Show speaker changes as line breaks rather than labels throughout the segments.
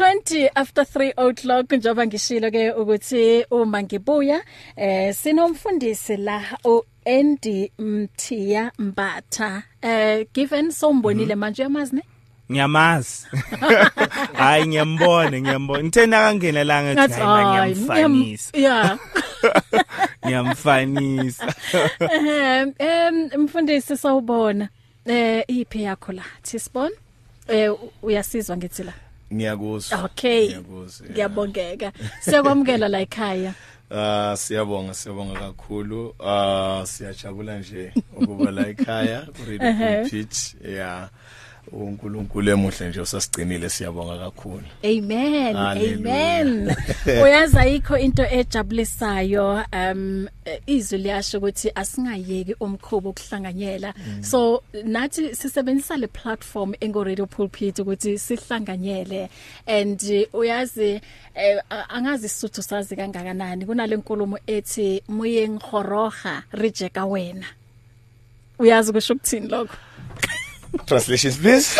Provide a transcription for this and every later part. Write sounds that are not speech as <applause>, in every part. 20 after 3 o'clock njoba ngishilo ke ukuthi uma ngibuya eh sinomfundisi la o Andy Mthia Mbatha eh given sombonile manje uyamazi ne
ngiyamazi hayi ngiyambona ngiyambona ngithe nakangena la ngathi
Ngathi,
hayi
"Hayi,
ngiyamfanisa
ngiyam- <laughs> yeah
ngiyamfanisa
Ehem, Eh, em mfundisi sawubona eh iphi yakho la Tisbon eh u- uyasizwa ngithi la
ngiyakuzwa
okay
Ngiyakuzwa, yeah.
ngiyabongeka siyakwamukela la ekhaya
Ah siyabonga siyabonga kakhulu ah siyajabula nje ukuba la ekhaya ku
Uh-huh.
Radio Pitch yeah uNkulunkulu emuhle nje usasigcinile siyabonga kakhulu
Amen.
Hallelujah.
Amen. Uyaza ikho into ejabulisayo um eh, izwi liyasho ukuthi asingayeki umkhubo okuhlanganyela. So nathi sisebenzisa le platform engo radio pulpit ukuthi sihlanganyele and eh, uyazi eh, a- angazi isizathu sazi kangakanani kunale nkulumo ethi moye ngihoroga rejeka wena. Uyazi kusho ukuthini lokho?
translations please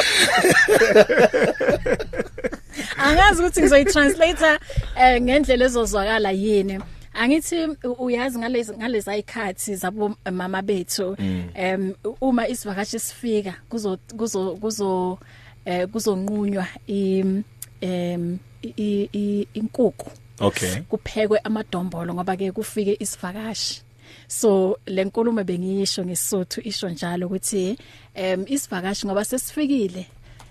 angazi ukuthi ngizoyitranslate eh ngendlela ezozwakala yini angithi u- uyazi ngalezi ngalezi ayikhathi zabo mama bethu em uma isivakashi sifika kuzo kuzo kuzo eh kuzonqunywa im em i- i- inkukhu
okay
kuphekwe amadombolo ngoba ke kufike isivakashi so lenkulumo bengiyisho ngesothu isho njalo ukuthi em isivakashi ngoba sesifikile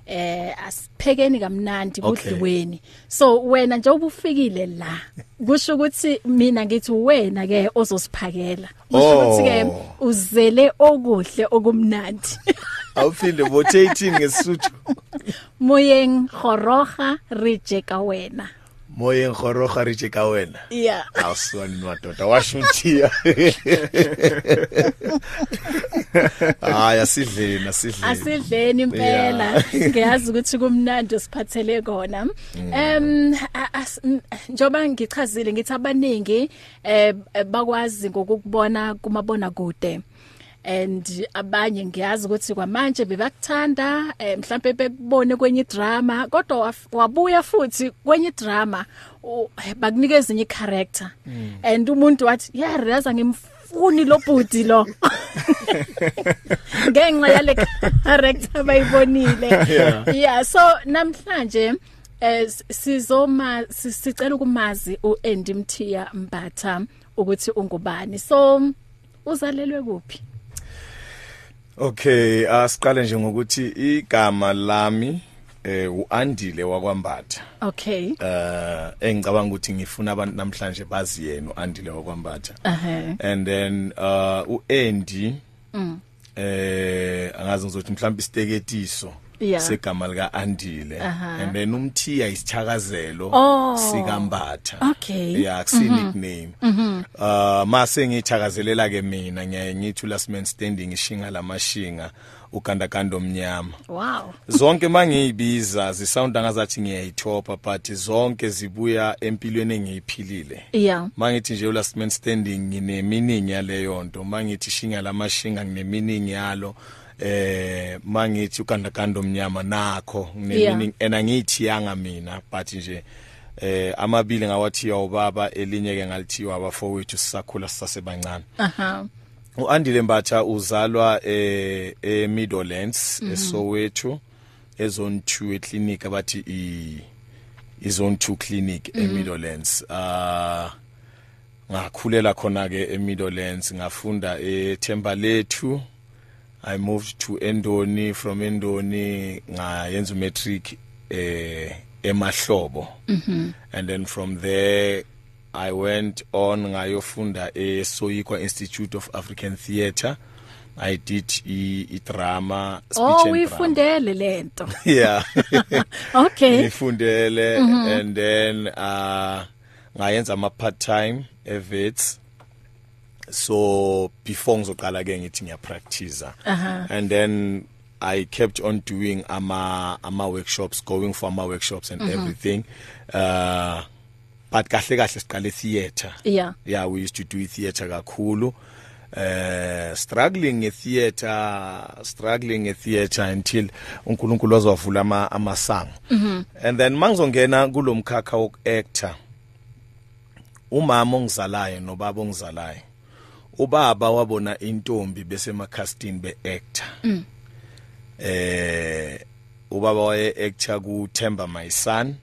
eh asiphekeni kamnandi
Okay.
kudliweni so wena nje ubufikile la kusho ukuthi mina ngithi wena ke ozosiphakela kusho ukuthi ke
Oh.
uzele okuhle okumnandi <laughs>
awufile what 18 ngesuthu
moyeng goroga rejeka wena
moye ngoroga rije ka wena
yeah
awuswani madoda
<laughs>
washuthiya hayi asidleni asidleni
asidleni impela <laughs> ngiyazi ukuthi kumnandi siphathele kona em a- as- m- njoba ngichazile ngithi abaningi eh bakwazi ngokubona kumabona kude and abanye ngiyazi ukuthi kwamanje bebakuthanda eh, mhlambe bekubone kwenye drama kodwa waf- wabuya futhi kwenye drama bakunikeza inye character and umuntu wathi yeah realize ngimfuni lo budi lo ngenxa yale character bayibonile yeah so namhlanje eh, s- sizoma si- sicela ukumazi uAndy Mthia Mbatha ukuthi ungubani so uzalelwe kuphi
Okay, asiqale nje ngokuthi igama lami eh uAndile wakwambatha.
okay
Eh engicabanga ukuthi ngifuna abantu namhlanje bazi yena uAndile wakwambatha.
ehe
And then uh uAndy
Mm.
eh angazi ngizothi mhlawumbe isiteketiso
Yeah.
segama lika Andile.
Aha.
And then umthiya isithakazelo
Oh.
sikambatha.
Okay. Mm-hmm.
Yeah, akusi nickname. Uh mase ngithakazelela ke mina ngiyaye ngithi last man standing ishinga lamashinga uganda kando omnyama.
wow
zonke mangiyibiza zisound angazathi ngiyayithopa but zonke zibuya empilweni engiyiphilile
yeah
mangithi nje last man standing ngineminingi yaleyo nto mangithi shinga lamashinga ngineminingi yalo eh mangithi ugandaganda omnyama nakho ngineminingi and angiyithiyanga mina but nje eh amabili ngawathiya ubaba elinye ke ngalithiwa abafowethu sisakhula sisasebancane
aha
uAndile Mbatha uzalwa eh eMidlands eSoweto ezone 2 eclinic abathi i izone 2 clinic eMidlands ah ngakhulela khona ke eMidlands ngafunda eThembalethu I moved to Endoni from Endoni ngayenza umatric eh emahlobo and then from there I went on ngayofunda eSoyikwa Institute of African Theatre I did i, i drama speech
oh
and drama
uyifundele lento
<laughs> yeah
okay
ngifundele and then uh ngayenza ama part time evets so before ngizoqala ke ngithi ngiya practice and then I kept on doing ama ama workshops going for ama workshops and everything uh but kahle kahle siqale theatre
yeah
yeah we used to do theatre kakhulu eh struggling e theater struggling e theater until uNkulunkulu wazovula ama amasango and then mangizongena kulomkhakha wok actor umama ongizalayo nobaba ongizalayo ubaba wabona intombi bese emakhastini beactor eh ubaba waye actor ku Themba my son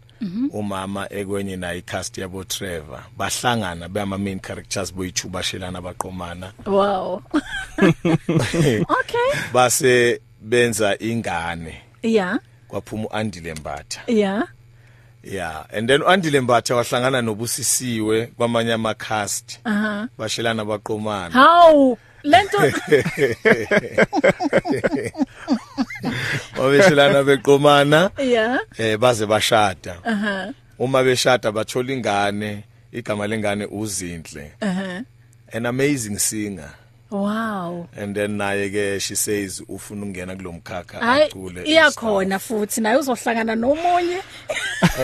umama ekwenye naye icast yabo Trevor bahlangana beyama main characters boyithubashelana baqomana
wow <laughs> okay
base benza ingane
yeah
kwaphuma uAndile Mbatha
yeah
yeah and then uAndile Mbatha wahlangana nobusisiwe kwamanye amacast
aha
bashelana baqomana
how lento
babeshelana beqomana
yeah
eh baze bashada
aha
uma beshada bathola ingane igama lengane uzinhle
aha
an amazing singer
wow
and then naye ke she says ufuna ukungena kulomkhakha
hayi
acule
iyakhona futhi naye uzohlangana nomunye
<laughs>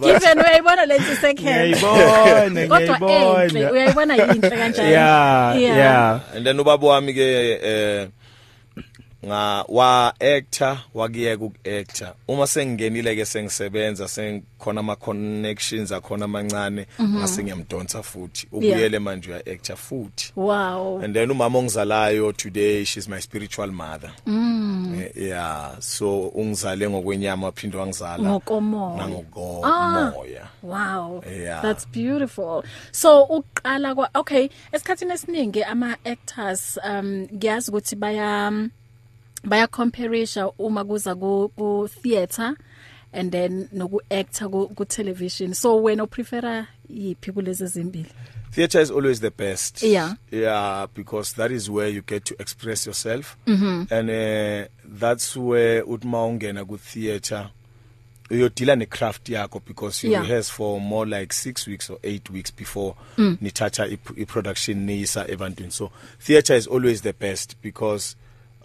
given uyayibona lento second
ngiyayibona
kodwa enhle
ngiyayibona
uyayibona yinhle kanjani
yeah yeah
and then ubaba wami ke eh nga wa actor wakiyeka uk actor uma sengingenile ke sengisebenza sengikhona ama connections akhona amancane
Mhm.
ngase ngiyamdonsa futhi ubuyele manje uya actor futhi
wow
and then umama ongizalayo today she's my spiritual mother mm. yeah so ungizale ngokwenyama phinde
Oh.
wangizala
Ngokomoya.
nangokomoya
Wow.
Yeah.
That's beautiful. So uqala kwa okay, esikhathini esiningi ama actors um ngiyazi ukuthi baya um, baya compareisha uma kuza ku, ku theater and then noku actor ku, ku television. So wena uprefera yipi kulezi zimbili?
theater is always the best
Yeah.
yeah because that is where you get to express yourself mm-hmm. and uh, that's where uthi ma ungena ku theater uyodila necraft yakho because you
Yeah.
rehearse for more like 6 weeks or 8 weeks before mm. nithatha i- i-production niyisa ebantwini so theater is always the best because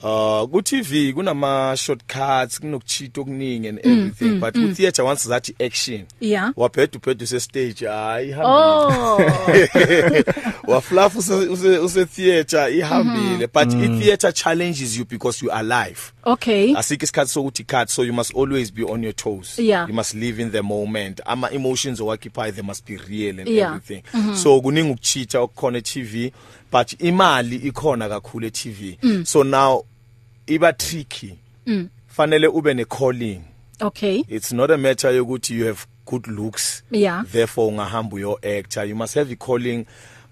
uh ku TV kunama shortcuts kunokuchita okuningi and everything mm, but mm, ku theater once that action
Yeah.
wabhedu bhedu se stage hayi hambile
Oh.
<laughs> wafluff use use- use theater ihambile
Mhm.
but
Mm.
i theater challenges you because you are alive
<laughs> okay.
asike isikhathi sokuthi cut so you must always be on your toes
Yeah.
you must live in the moment ama emotions occupy they must be real and
Yeah. Mm-hmm.
everything so kuningi ukuchita okukhona e TV but imali ikhona kakhulu e
Mm.
TV so now iba tricky fanele ube ne calling
Okay.
it's not a matter yokuthi you have good looks
Yeah.
therefore ungahamba uyo-actor you must have i-calling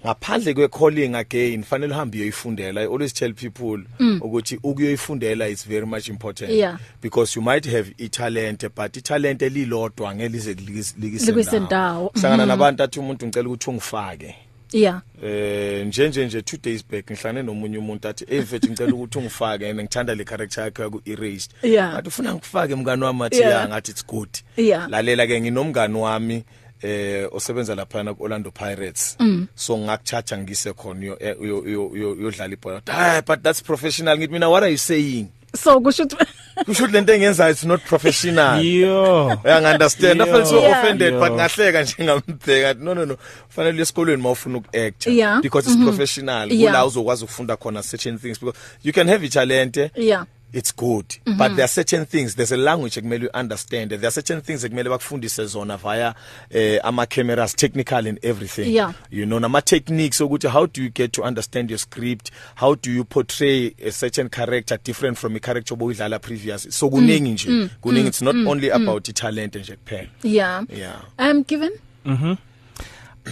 ngaphandle kwe-calling again fanele uhambe uyoyifundela i always tell people ukuthi ukuyoyifundela is very much important
Mm. Yeah.
because you might have italente but italente lilodwa ngelize
Likuse
likise
ndawo. Mm-hmm.
hlangana nabantu athi umuntu ngicela ukuthi ungifake
Yeah.
eh njenje nje 2 days back ngihlane nomunye umuntu athi hey mfethu ngicela ukuthi ungifake and ngithanda le character yakho yaku erased
Yeah.
ngathi ufuna ngikufake mngani wami athi
Yeah.
yeah ngathi it's good
Yeah.
lalela ke nginomngani wami eh osebenza lapha na Orlando Pirates
Mm.
so ngakuthatha ngise khona yo eh, uyo- uyo- uyo- uyodlala ibhola hey but that's professional ngithi mina what are you saying
So kusho ukuthi
kusho ukuthi lento engiyenzayo it's not professional
yo
uyangi understand i
Yo.
felt so
Yeah.
offended but
Yo.
ngahleka njengambheka no no no fanele esikolweni mawufuna uku-actor
Yeah. Mm-hmm.
because it's professional
Yeah.
kula uzokwazi ukufunda khona certain things because you can have eh? italente
<laughs> yeah.
it's good but there are certain things there's a language ekumele you understand there are certain things ekumele bakufundise zona via eh, ama-cameras technical and everything
Yeah.
you know nama-techniques okuthi how do you get to understand your script how do you portray a certain character different from i-character obuyidlala previous so kuningi nje kuningi it's not only about italente nje kuphela
Yeah.
yeah
Um given?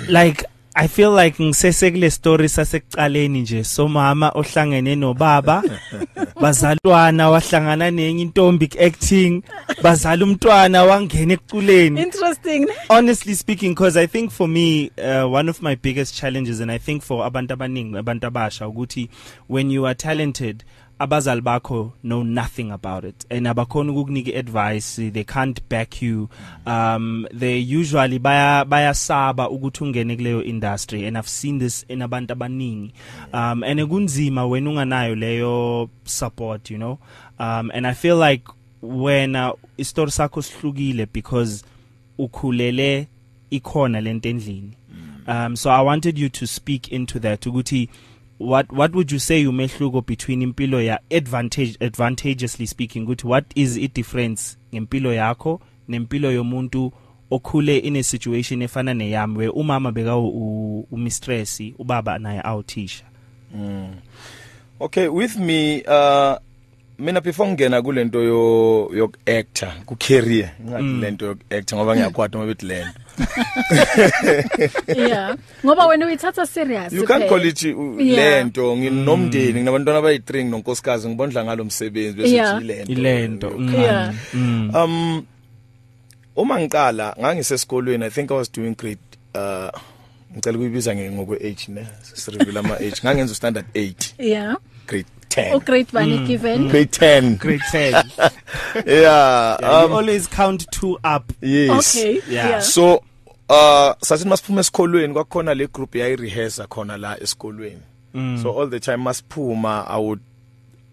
like I feel like ngisese kule story sasekuqaleni nje somama ohlangene <laughs> nobaba bazalwana wahlangana nenye intombi acting bazala umntwana wangena ekuculeni
Interesting.
honestly speaking because i think for me uh, one of my biggest challenges and i think for abantu abaningi abantu abasha ukuthi when you are talented abazali bakho know nothing about it and abakhona ukukunika advice they can't back you um they usually baya bayasaba ukuthi ungene kuleyo industry and i've seen this in abantu abaningi um and ekunzima wena unganayo leyo support you know um and i feel like wena isitori sakho sihlukile because ukhulele ikhona lento endlini um so i wanted you to speak into that ukuthi what what would you say umehluko between impilo ya advantage advantageously speaking ukuthi what is i difference ngempilo yakho nempilo yomuntu okhule in a situation efana neyami where umama beka umistress ubaba naye awuthisha
Okay, with me uh mina before ngena kulento yo yok actor ku career ngathi lento yok actor ngoba ngiyakwata uma bethi lento.
yeah ngoba wena uyithatha serious eh?
You can't
phela.
call it uh,
Yeah.
lento
Mm.
nginomndeni nginabantwana abayi3 nonkosikazi ngibondla ngalo msebenzi bese
Yeah.
kuthi lento.
ilento
Yo-
mm.
Yeah.
mm.
Um uma ngiqala ngangisesikolweni I think I was doing grade uh ngicela kuyibiza nge- ngokwe age ne sirivela ama age ngangenza u standard 8
yeah
grade
o
10
great
Mm.
money given
grade 10
<laughs> grade 10
yeah
um,
um
you always count two up
yes
okay
Yeah.
yeah
so uh sathi masiphuma esikolweni kwakhona le group yayi rehearse khona la esikolweni
Mm.
so all the time masiphuma i would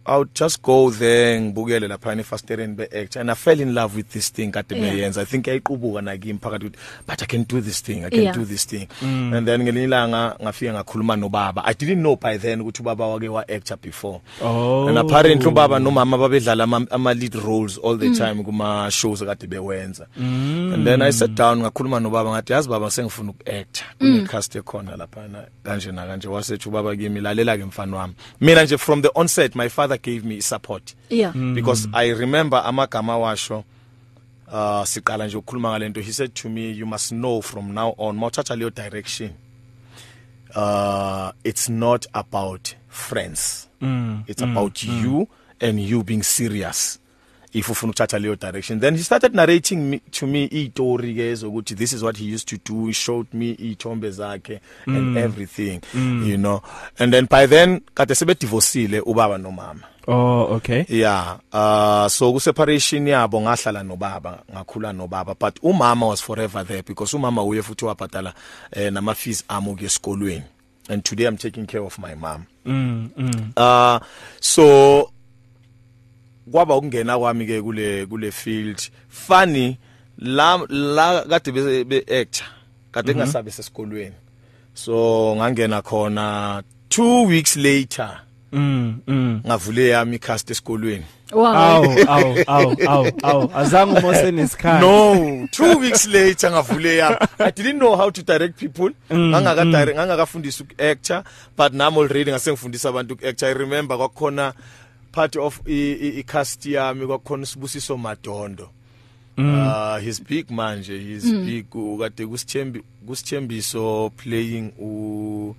I would just go there ngibukele lapha ni fastereni be act and I fell in love with this thing kade
Yeah.
beyenza I think ayiqubuka na kimi phakathi ukuthi but I can do this thing I can
Yeah. Mm.
do this thing and then ngelinye ilanga ngafika ngakhuluma nobaba I didn't know by then ukuthi ubaba wake wa actor before
Oh.
and apparently ubaba nomama babedlala ama- ama lead roles all the time kuma shows kade bewenza and then i sat down ngakhuluma nobaba ngathi yazi baba sengifuna ukuact kune cast ekhona lapha na kanje na kanje wasethu ubaba kimi lalela ke mfana wami mina nje from the onset my father gave me support
yeah
because i remember amagama washo uh siqala nje ukukhuluma ngalento he said to me you must know from now on mawuthatha leyo direction uh it's not about friends mm, it's mm, about mm. you and you being serious if ufuna ukuthatha leyo direction then he started narrating me, to me iitori ke ezokuthi this is what he used to do he showed me iithombe zakhe mm. and everything mm. you know and then by then kade sebedivorcile ubaba nomama
oh okay
yeah uh so ku separation yabo ngahlala nobaba ngakhula nobaba but umama was forever there because umama uye futhi wabhadala eh, nama fees amo ke esikolweni and today i'm taking care of my mom
mm, mm.
uh so kwaba ukungena kwami ke kule kule field funny la la kade be, be actor kade ngasabe sesikolweni so ngangena khona 2 weeks later
Mm, mm.
ngavule yami cast esikolweni
wow
aw aw aw aw aw azange umose nesikhathi
no two weeks later ngavule yami i didn't know how to direct people ngangaka direct ngangakafundisa ukuactor but nami already ngasengifundisa abantu ukuactor i remember kwakukhona part of i- i i cast yami kwakukhona sibusiso madondo uh he's big manje he's big ukade kusithembi kusithembiso playing u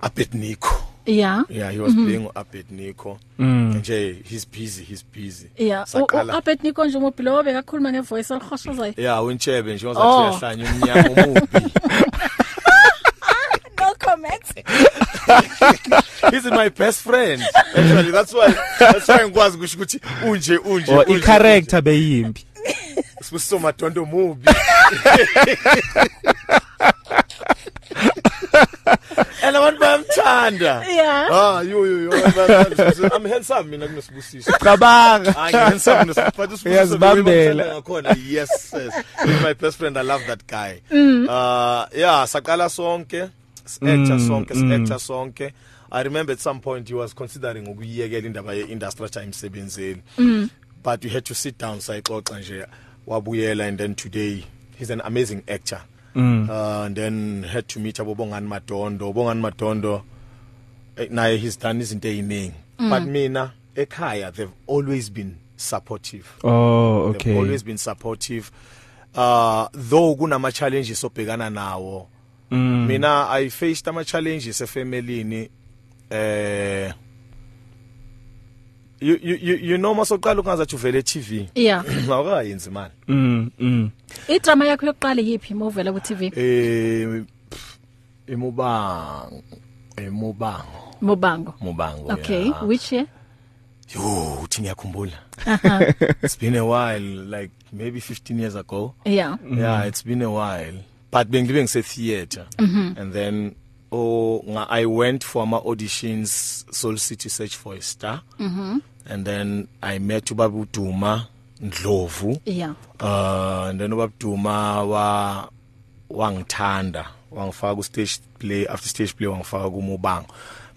Abednico
yeah
yeah he was mm -hmm. playing Abednico mm. nje he's busy he's busy
yeah
Saqala-
upet niko nje umphilo wabe kakhuluma ngevoice elihoshozayo
ya untshebe nje
Oh.
ongazathi uyahlanya umnyama umubi
no comment
he's my best friend actually that's why that's why ngikwazi kusho ukuthi unje unje
Oh,
or
unje,
Oh, i-character beyimbi
unje. sibusiso madondo mubi and abantu bayamthanda
yeah
ah yo yo yo bayamthanda. i'm handsome mina
<laughs>
kunesibusiso
cabanga
Ah, ngiyanisaba nesi- but usibusiso
Uyazibambela.
lo ngakhona. Yes, yes. He's my best friend. I love that guy. Uh yeah, saqala sonke, actor sonke, actor sonke. I remember at some point he was considering ukuyekela indaba yeindustry cha imsebenzeni. But we had to sit down sayixoxa nje wabuyela and then today he's an amazing actor. Uh and then had to meet abobongani Madondo, bongani Madondo eh, naye he's done izinto eziningi but mina ekhaya they've always been supportive
oh
they've
okay
always been supportive uh though kunama challenges obhekana nawo
Mm,
mina i faced ama challenges efamily eh you you you, you know masoqala ukungazathi uvele TV
yeah
<clears throat> awukayenzi manje
mm mm
idrama yakho yokuqala yipi movela ku TV
eh pff, emubango emubango
Mobango
mubango
okay
yeah.
which year
yo uthi ngiyakhumbula
Uh-huh.
it's been a while like maybe 15 years ago
yeah
mm. yeah it's been a while but bengibe ngise theater mm-hmm. and then oh nga, i went for my auditions soul city search for a star mm-hmm. and then i met ubaba Duma Ndlovu
yeah
Eh, uh and then ubaba Duma wa wangithanda wangifaka ku stage play after stage play wangifaka ku Mobango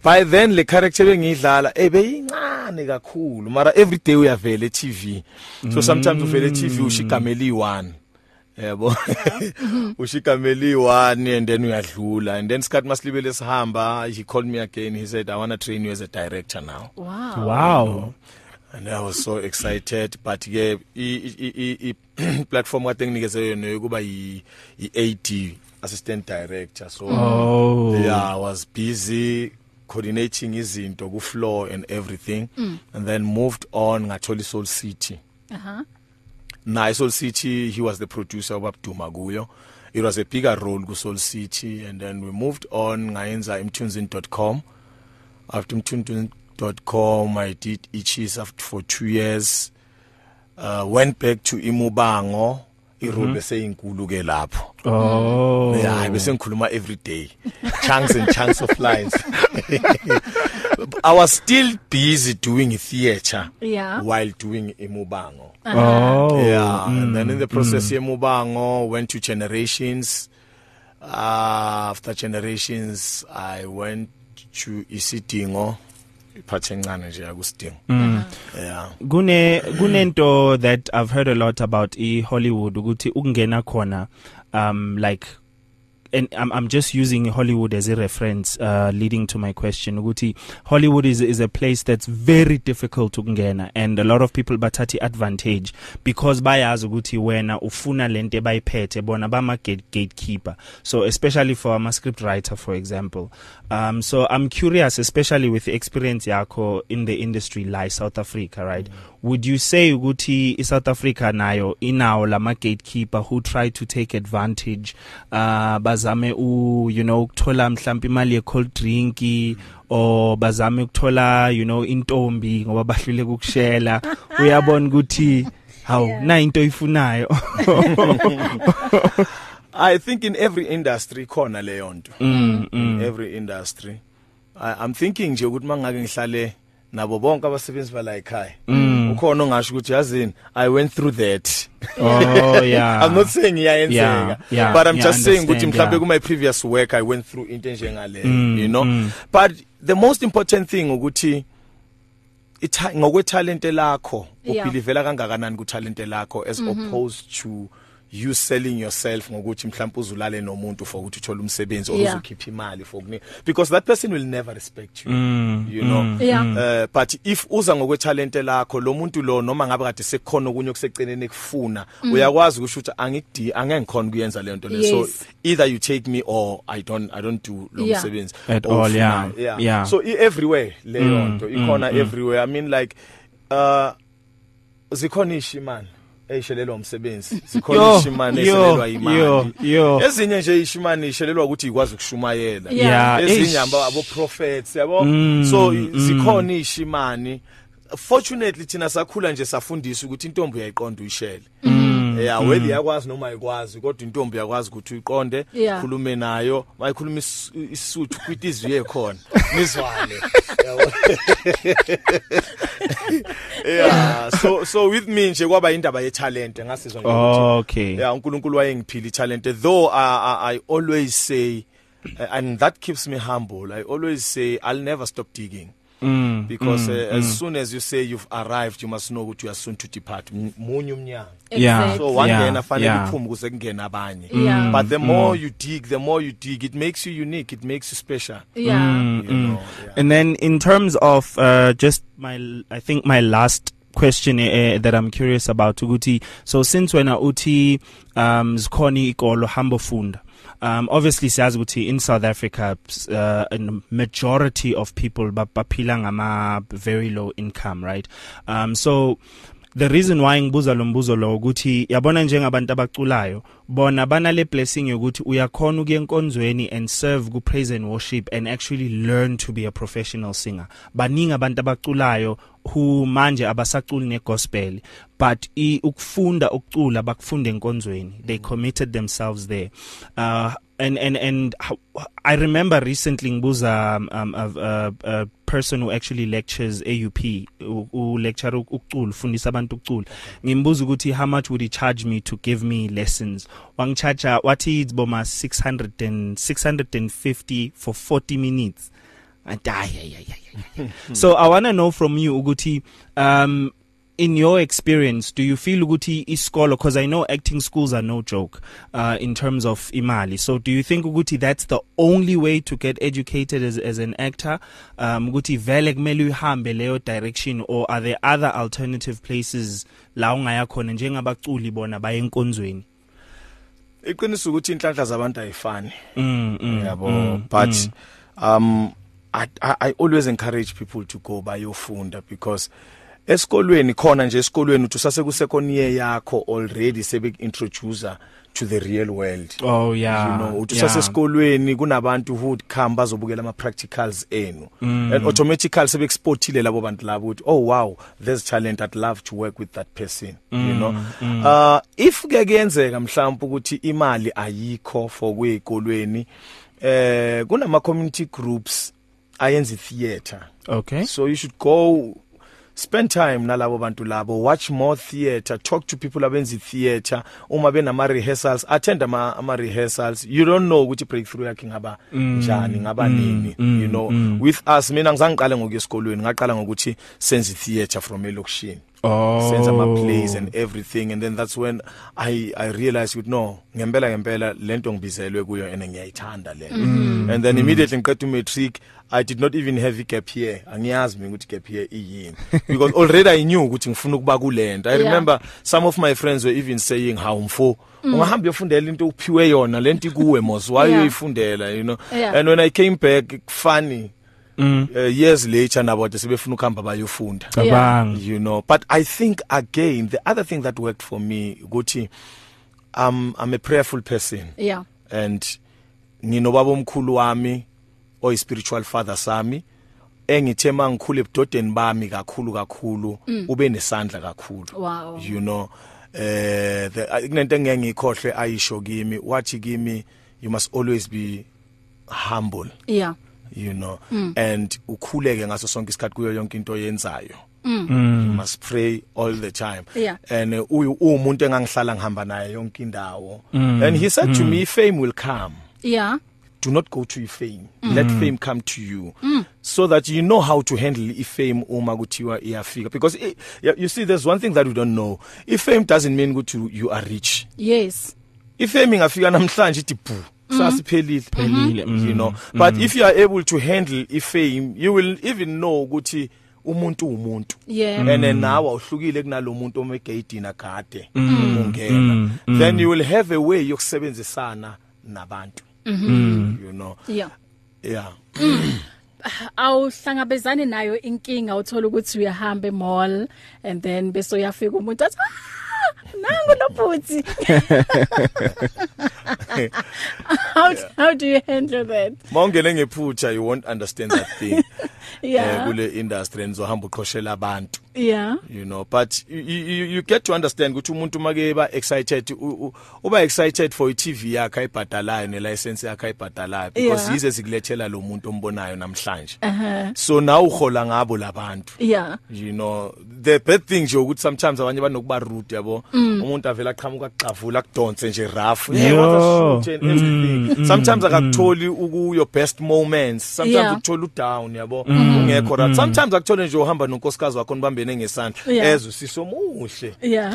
by then le character engiyidlala ebeyincane kakhulu mara every day uyavela e-TV so sometimes uvela e-TV ushigamela i-1 yebo <laughs> ushigamela i-1 and then uyadlula and then sikhathi masilibele sihamba he called me again he said i want to train you as a director now
Wow.
wow
and i was so excited but ke i- i- i- i- <clears throat> platform kade nginikeze yona yokuba yi-ad assistant director so
Oh.
yeah i was busy coordinating izinto ku-floor and everything mm. and then moved on ngathola i-soul city
Uh-huh.
na i-soul city he was the producer obabduma kuyo it was a bigger role ku-soul city and then we moved on ngayenza emtunzin com after mtunzin com i did ichis after for two years uh, went back to imubango irole mm -hmm. beseyinkulu ke lapho
oh
yeah hayi bese ngikhuluma every day chunks and chunks of lines <laughs> i was still busy doing theatre
Yeah.
while doing imubango
oh Mm,
yeah and then in the process yemubango went to generations uh, after generations i went to isidingo iphathe encane nje akusidingo
mm.
Mm.
yeah
kune kunento that i've heard a lot about i Hollywood ukuthi ukungena khona um like and I'm I'm just using Hollywood as a reference uh leading to my question ukuthi Hollywood is is a place that's very difficult ukungena and a lot of people bathathi advantage because bayazi ukuthi wena ufuna lento ebayiphethe bona bama gate, gatekeeper so especially for a script writer for example um so I'm curious especially with the experience yakho in the industry like South Africa right mm. would you say ukuthi iSouth Africa nayo inawo lama gatekeeper who try to take advantage uh bazame u you know ukuthola mhlawumbe imali ye cold drink or bazame ukuthola you know intombi ngoba bahlule ukushela uyabona ukuthi haw yeah. na into ifunayo
I think in every industry khona leyo nto. Mm, mm. Every industry. I, I'm thinking nje ukuthi mangake ngihlale nabo bonke abasebenzi bala ekhaya. <laughs> Mm. Ukhona ongasho ukuthi yazini I went through that.
oh yeah
I'm not saying
Yeah,
iyayenzeka
yeah,
but I'm
yeah,
just saying ukuthi
understand,
mhlambe
yeah.
ku my previous work I went through into njengale
Mm,
you know.
mm.
But the most important thing ukuthi itha- ngokwe talent lakho
Yeah. Mhm.
ubelivela kangakanani ku talent lakho as opposed to you selling yourself ngokuthi mhlawumbe uzulale nomuntu for ukuthi uthole umsebenzi or
Yeah.
uzokhipha imali for kunika because that person will never respect you
Mm,
you know
mm,
Yeah. mm.
uh, but if uza ngokwe talent lakho lo muntu lo noma ngabe kade sekukhona okunye okuseceleni ekufuna
Mm.
uyakwazi ukusho ukuthi angikudi angeke ngikhona kuyenza le nto le
Yes.
so either you take me or I don't I don't do lo
Yeah.
msebenzi
At
Or
all,
ufuna-
yeah. Yeah. Mm,
so i everywhere leyo nto ikhona everywhere I mean like uh zikhona ishimani eyishelelwa umsebenzi zikhona
Yo,
ishimani
yo,
eselelwa
yo,
imali
yo.
ezinye nje ishimani ishelelwa ukuthi ikwazi ukushumayela
Yeah.
Yeah,
ezinye
eish.
amba abo prophets yabo
Mm,
so
mm.
zikhona ishimani fortunately thina sakhula nje safundiswa ukuthi intombi uyayiqonda uyishele
Mm,
yeah whether yakwazi noma ayikwazi kodwa intombi yakwazi ukuthi uyiqonde
Yeah.
khulume nayo mayikhuluma isu- isuthu kwitizwi yekhona nizwane yabo <laughs> yeah so so with me nje kwaba indaba ye talent ngasizwa nje ukuthi
Oh, okay
yeah uNkulunkulu wayengiphila italent though I, I, I always say uh, and that keeps me humble I always say I'll never stop digging
mm,
because
mm,
uh, as soon as you say you've arrived you must know ukuthi you are soon to depart M- munye umnyango
Yeah.
so
Exactly.
one-
wangena
Yeah,
fanele
yeah. Mm,
iphume kuze kungena abanye
Yeah.
but the more you dig the more you dig it makes you unique it makes you special
Yeah.
mm,
you know yeah.
And then in terms of uh, just my, I think my last question uh, that I'm curious about ukuthi so since wena uthi um zikhona ikolo hamba funda um obviously siyazi ukuthi in South Africa uh, a majority of people ba- baphila ngama very low income right um so the reason why ngibuza lo mbuzo lo ukuthi yabona njengabantu abaculayo bona banale blessing yokuthi uyakhona ukuye enkonzweni and serve ku praise and worship and actually learn to be a professional singer baningi abantu abaculayo who manje abasaculi negospel but i ukufunda ukucula bakufunda enkonzweni they committed themselves there uh and and and how, I remember recently ngibuza um, um, uh, uh, uh, person who actually lectures AUP u- u lecture ukucula ufundisa abantu ukucula ngimbuza ukuthi how much would he charge me to give me lessons wangicharge wathi it's boma 600 and 650 for 40 minutes and ay ay ay ay, ay so i want to know from you ukuthi um in your experience do you feel ukuthi isikolo because i know acting schools are no joke uh in terms of imali so do you think ukuthi that's the only way to get educated as as an actor um ukuthi vele kumele uhambe leyo direction or are there other alternative places la ungaya khona njengabaculi bona bayenkonzweni
iqiniso ukuthi inhlanhla zabantu ayifani
mm, mm
yabo but um I, I i always encourage people to go bayofunda because esikolweni khona nje esikolweni uthi usase ku second year yakho already sebe introducer to the real world
oh yeah
you know uthi
yeah.
usasesikolweni kunabantu who would come bazobukela ama practicals enu and automatically sebe exportile labo bantu labo uthi oh wow there's talent i'd love to work with that person you know
Mm,
uh if ke kuyenzeka mhlawumbe ukuthi imali ayikho for kwezikolweni eh kunama community groups ayenza theater
okay
so you should go spend time nalabo bantu labo watch more theater talk to people abenza theater uma benama rehearsals attend ama, ama rehearsals you don't know ukuthi breakthrough yakhe ngaba njani ngaba nini you know with us mina ngizangiqale ngokuya esikolweni ngaqala ngokuthi senze theater from elokushini
oh
senza ama plays and everything and then that's when i i realized ukuthi no ngempela ngempela lento ngibizelwe kuyo and ngiyayithanda lento and then immediately ngiqeda umatric i did not even have a gap year angiyazi mina ukuthi gap year iyini because already i knew ukuthi ngifuna ukuba kulento i
Yeah.
remember some of my friends were even saying how mfo ungahamba uyofundela into uphiwe yona lento ikuwe mos why
Mm. Yeah.
uyoyifundela you know
Yeah.
and when i came back funny uh, years later nabo ade sebefuna ukuhamba bayofunda
cabanga
you know but i think again the other thing that worked for me ukuthi um i'm a prayerful person
yeah
and nginobaba omkhulu wami oyi spiritual father sami engithe mangikhule ebudodeni bami kakhulu kakhulu ube nesandla kakhulu
Wow.
you know eh the- uh, kunento engeke ngiyikhohle ayisho kimi wathi kimi you must always be humble
yeah
you know mm. and ukhuleke ngaso sonke isikhathi kuyo yonke into oyenzayo mm. you must pray all the time
Yeah.
and uh, uyu- uwumuntu engangihlala ngihamba naye yonke indawo mm. and he said mm. to me fame will come
yeah
do not go to ifame mm. let fame come to you mm. so that you know how to handle ifame uma kuthiwa iyafika because i y you see there's one thing that we don't know ifame doesn't mean ukuthi you- you are rich
yes
ifame ingafika namhlanje ithi bhu sasiphelile Mm-hmm.
pelile
you know but if you are able to handle ifame you will even know ukuthi umuntu umuntu
yeah
and then nawe awuhlukile kunalomuntu omegayidini agade ungena then you will have a way yokusebenzisana nabantu Mm. you know
yeah
yeah
awuhlangabezane nayo inkinga uthola ukuthi uyahamba emall and then bese uyafika umuntu athi "Ah, nangu nobhuti <laughs> how how do you handle that
mawungene ngephutha you won't understand that thing eh,
yeah
kule industry nizohamba uqhoshela abantu
yeah
you know but you, you, you get to understand ukuthi umuntu make ba excited u- u- uba excited for iTV yakhe ayibhadalayo nelicense yakhe ayibhadalayo because
Yeah. Uh-huh.
yize sikulethela lo muntu ombonayo namhlanje so now uhola ngabo labantu
yeah
you know the bad thing nje ukuthi sometimes abanye banokuba rude yabo
Mm.
umuntu avela aqhamuka aqavula akudonse nje rough yeah
Yo.
what's a shoot and
Mm,
everything
mm,
sometimes akakutholi uku your best moments sometimes
Yeah.
ukuthola u down yabo
Mm.
ungekho right sometimes akuthole nje uhamba nonkosikazi wakho nibambene ngesandla
Yeah.
ezwe sisomuhle
yeah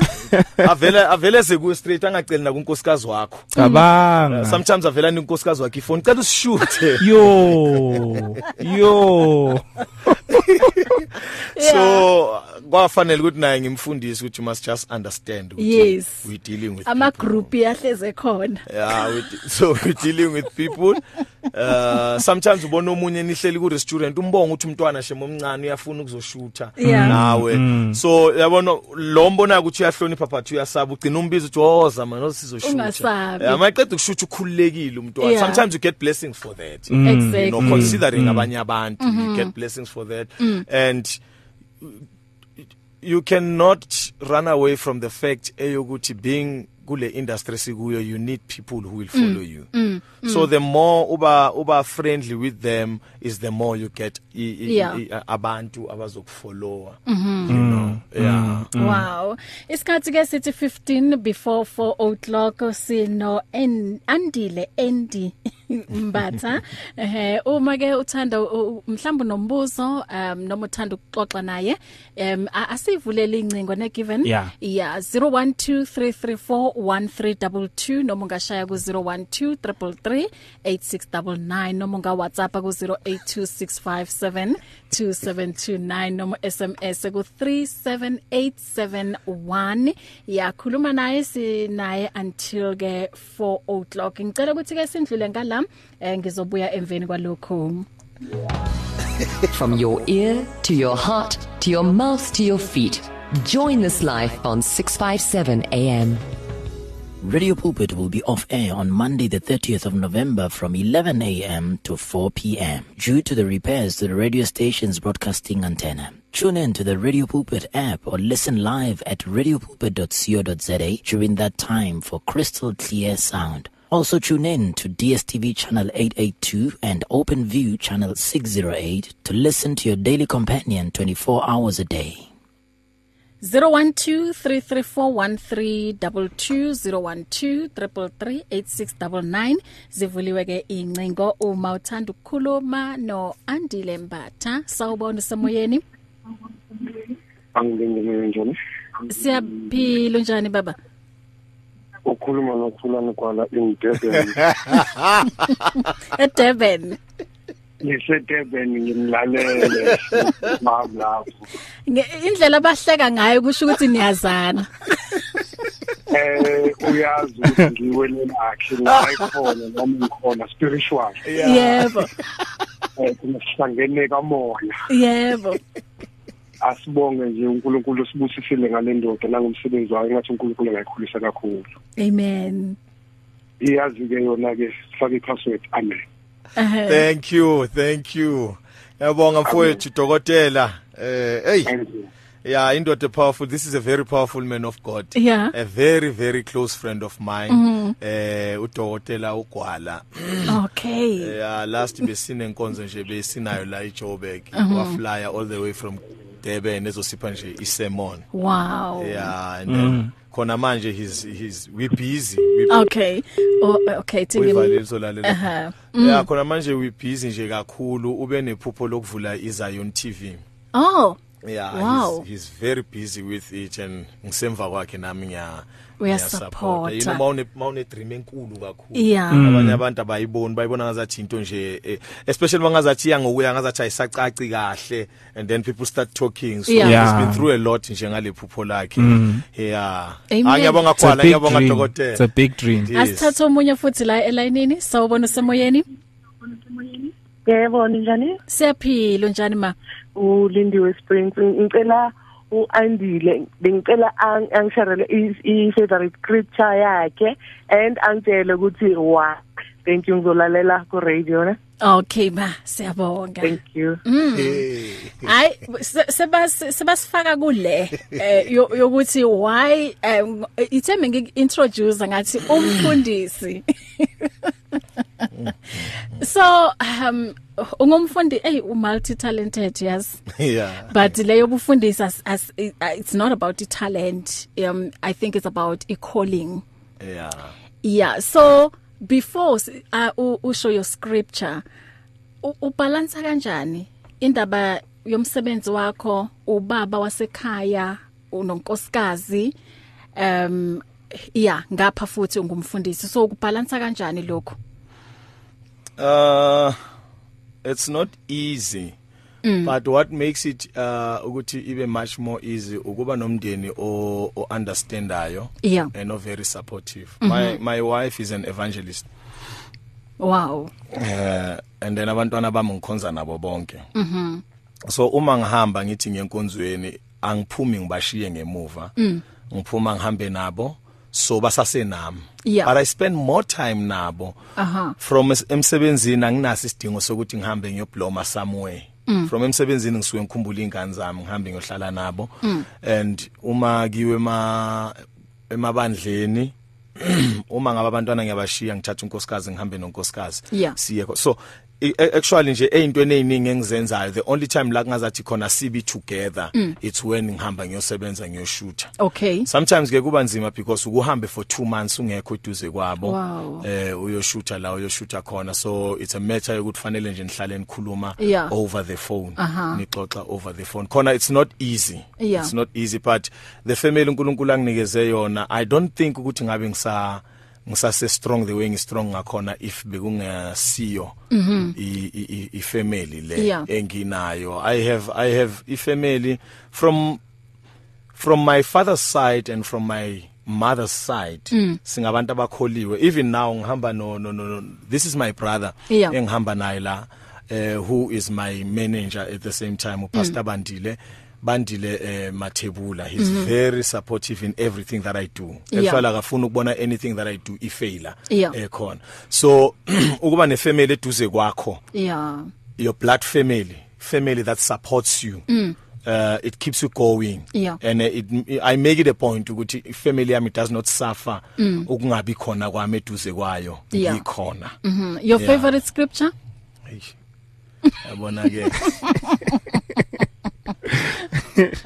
avele avele ze ku straight angaceli na kunkosikazi wakho
cabanga
sometimes avela ninkosikazi wakhe ifone cela usishute
<laughs>
yo
<laughs>
yo
so kwafanele ukuthi naye ngimfundise ukuthi you must just understand ukuthi
Yes.
we dealing with
ama
people.
group yahleze khona
yeah we de- so we dealing with people uh sometimes ubona omunye nihleli ku restaurant umbonga ukuthi umntwana shemo omncane uyafuna ukuzoshutha
Yeah. Mm,
nawe so yabona lo mbona ukuthi uyahlonipha but uyasaba ugcina umbizo uthi "Oh, woza man
Ungasabi.
usizoshutha amaqeda ukushutha ukhululekile umntwana
Yeah.
sometimes you get blessings for that you know
exactly
considering abanye abantu you get blessings for that and you cannot run away from the fact eyokuthi eh, being kule industry sikuyo you need people who will follow you so the more uba uba friendly with them is the more you get i, i,
Yeah.
i, abantu abazokufollowa you know
Uh,
yeah
Wow. Isikhathi ke sithi 15 before 4 o'clock sino en andile endi <laughs> mbatha. Eh uma ke uthanda u- u- mhlawumbe nombuzo um noma uthanda ukuxoxa naye um a- asivulele incingo ne given
Yeah.
yeah 0123341322 noma ungashaya ku 0123338699 noma unga WhatsApp ku 0826572729 noma SMS ku 37871 yakhuluma naye sinaye until ke 4 o'clock ngicela ukuthi ke sindlule ngala eh, ngizobuya emveni kwalokho
From your ear to your heart to your mouth to your feet. Join this life on 657 AM.
Radio Pulpit will be off air on Monday, the 30th of November from 11 a.m. to 4 p.m. due to the repairs to the radio station's broadcasting antenna. Tune in to the Radio Pulpit app or listen live at radiopulpit.co.za during that time for crystal clear sound. Also tune in to DSTV channel 882 and OpenView channel 608 to listen to your daily companion 24 hours a day.
0123341322 zivuliwe ke incingo uma uthanda ukukhuluma no Andile Mbatha sawubona semoyeni
angilindimele njani
siyaphila njani baba
ukhuluma nothulani kwala indurban
eDurban
ngisedurban ngimlalele mablapho
Nge- indlela abahleka ngayo kusho ukuthi niyazana
um uyazi ukuthi ngiwele lakhe nayikhona noma ngikhona spiritual
yebo
um thina sihlangene kamoya
yebo
asibonge nje unkulunkulu usibusisile ngale ndoda nangomsebenzi wayo engathi unkulunkulu angayikhulisa kakhulu
amen
iyazi-ke yona-ke sifake i-password amen
Ehhe.
thank you thank you yabonga mfowethu dokotela eh hey
Thank you.
yeah indoda powerful this is a very powerful man of god
Yeah.
a very very close friend of mine eh udokotela ugwala
okay
yeah last besinenkonzo nje besinayo la eJoburg waflya all the way from Durban ezosipha nje isemon
wow
yeah and then khona manje he's he's we busy we
okay oh, okay Uh-huh.
uyivalile
tingim
izolalela
Aha.
yeah khona manje we busy nje kakhulu ube nephupho lokuvula iZion TV
oh
yeah
Wow.
he's, he's very busy with it and ngisemva kwakhe nami ngiya
Uyasupporta.
ngiyasupporta. you know mawune mawune dream enkulu kakhulu
Yeah. Mm.
abanye abantu abayiboni bayibona ngazathi into nje eh, especially bangazathi yangokuya ngazathi ayisacaci kahle and then people start talking so
Yeah.
Yeah.
he's been through a lot nje ngale phupho lakhe yeah
Amen.
Ah, ngiyabonga
Mm. It's a
khona
big
ngiyabonga
dream. It's a
dokotela
big dream.
Yeah. Yes.
asithatha omunye futhi la elayinini sawubona semoyeni
Yebo njani?
siyaphila njani ma
Ulindiwe Springs. Ngicela uandile. Bengicela ang- angisharele i- i favorite scripture yakhe and angitshele ukuthi wa. Thank you ngizolalela ku radio na.
okay ma siyabonga
Thank you.
hayi se- seba- se- sebasifaka kule eh, yo- yokuthi why um, ithembe ngiintroduce ngathi umfundisi <laughs> so um ungumfundi hey umulti talented yes
<laughs> yeah
but leyo kufundisa as, as it's not about the talent um i think it's about a calling
yeah
Yeah, so before s- uh, u- usho your scripture u- ubalansa kanjani indaba yomsebenzi wakho ubaba wasekhaya unonkosikazi um yeah ngapha futhi ungumfundisi so ukubalansa kanjani lokho
uh it's not easy mm. but what makes it uh ukuthi ibe much more easy ukuba nomndeni o o understandayo
yeah Mm-hmm.
and o very supportive mm -hmm. my my wife is an evangelist
wow
eh and then abantwana bami ngikhonza nabo bonke mhm
Mm-hmm.
so uma ngihamba ngithi ngenkonzweni angiphumi ngibashiye ngemuva
Mm.
ngiphuma ngihambe nabo so basase nami
Yeah.
but i spend more time nabo
aha
from es- emsebenzini anginaso isidingo sokuthi ngihambe ngiyobhloma somewhere from emsebenzini ngisuke ngikhumbula ingane zami ngihambe ngiyohlala nabo and uma kiwe ema emabandleni <clears throat> uma ngabe abantwana ngiyabashiya ngithatha unkosikazi ngihambe nonkosikazi
Yeah.
siye kho- so i- a- actually nje eyintweni eziningi engizenzayo the only time la kungazathi khona sibe together it's when ngihamba ngiyosebenza ngiyoshutha
Okay.
sometimes ke kuba nzima because ukuhambe for 2 months ungekho eduze kwabo
Wow.
eh uyoshutha la uyoshutha khona so it's a matter yokuthi fanele nje nihlale nikhuluma
Yeah.
over the phone
Aha.
nixoxa over the phone khona it's not easy
Yeah.
it's not easy but the family uNkulunkulu anginikeze yona i don't think ukuthi ngabe ngisa ngisase strong the way ngistrong ngakhona if bekungasiyo i- i i- i family le
Mhm. Yeah.
enginayo i have i have i family from from my father's side and from my mother's side
Mm.
singabantu abakholiwe even now ngihamba no no no no, this is my brother
Yeah.
engihamba naye la eh, who is my manager at the same time
Mm.
upastor bandile bandile eh, mathebula he's very supportive in everything that i do
Mm-hmm. Yeah.
actually akafuna ukubona anything that i do ifaila
Yeah.
ekhona so <clears throat> ukuba nefamily eduze kwakho
Yeah.
your blood family family that supports you mm. uh, it keeps you going
Yeah.
and uh, it, i make it a point ukuthi family yami does not suffer ukungabi khona kwami eduze kwayo
Mm. Yeah.
ngikhona
Mhm. Your
Yeah.
favorite scripture?
Eish. yabona <laughs> ke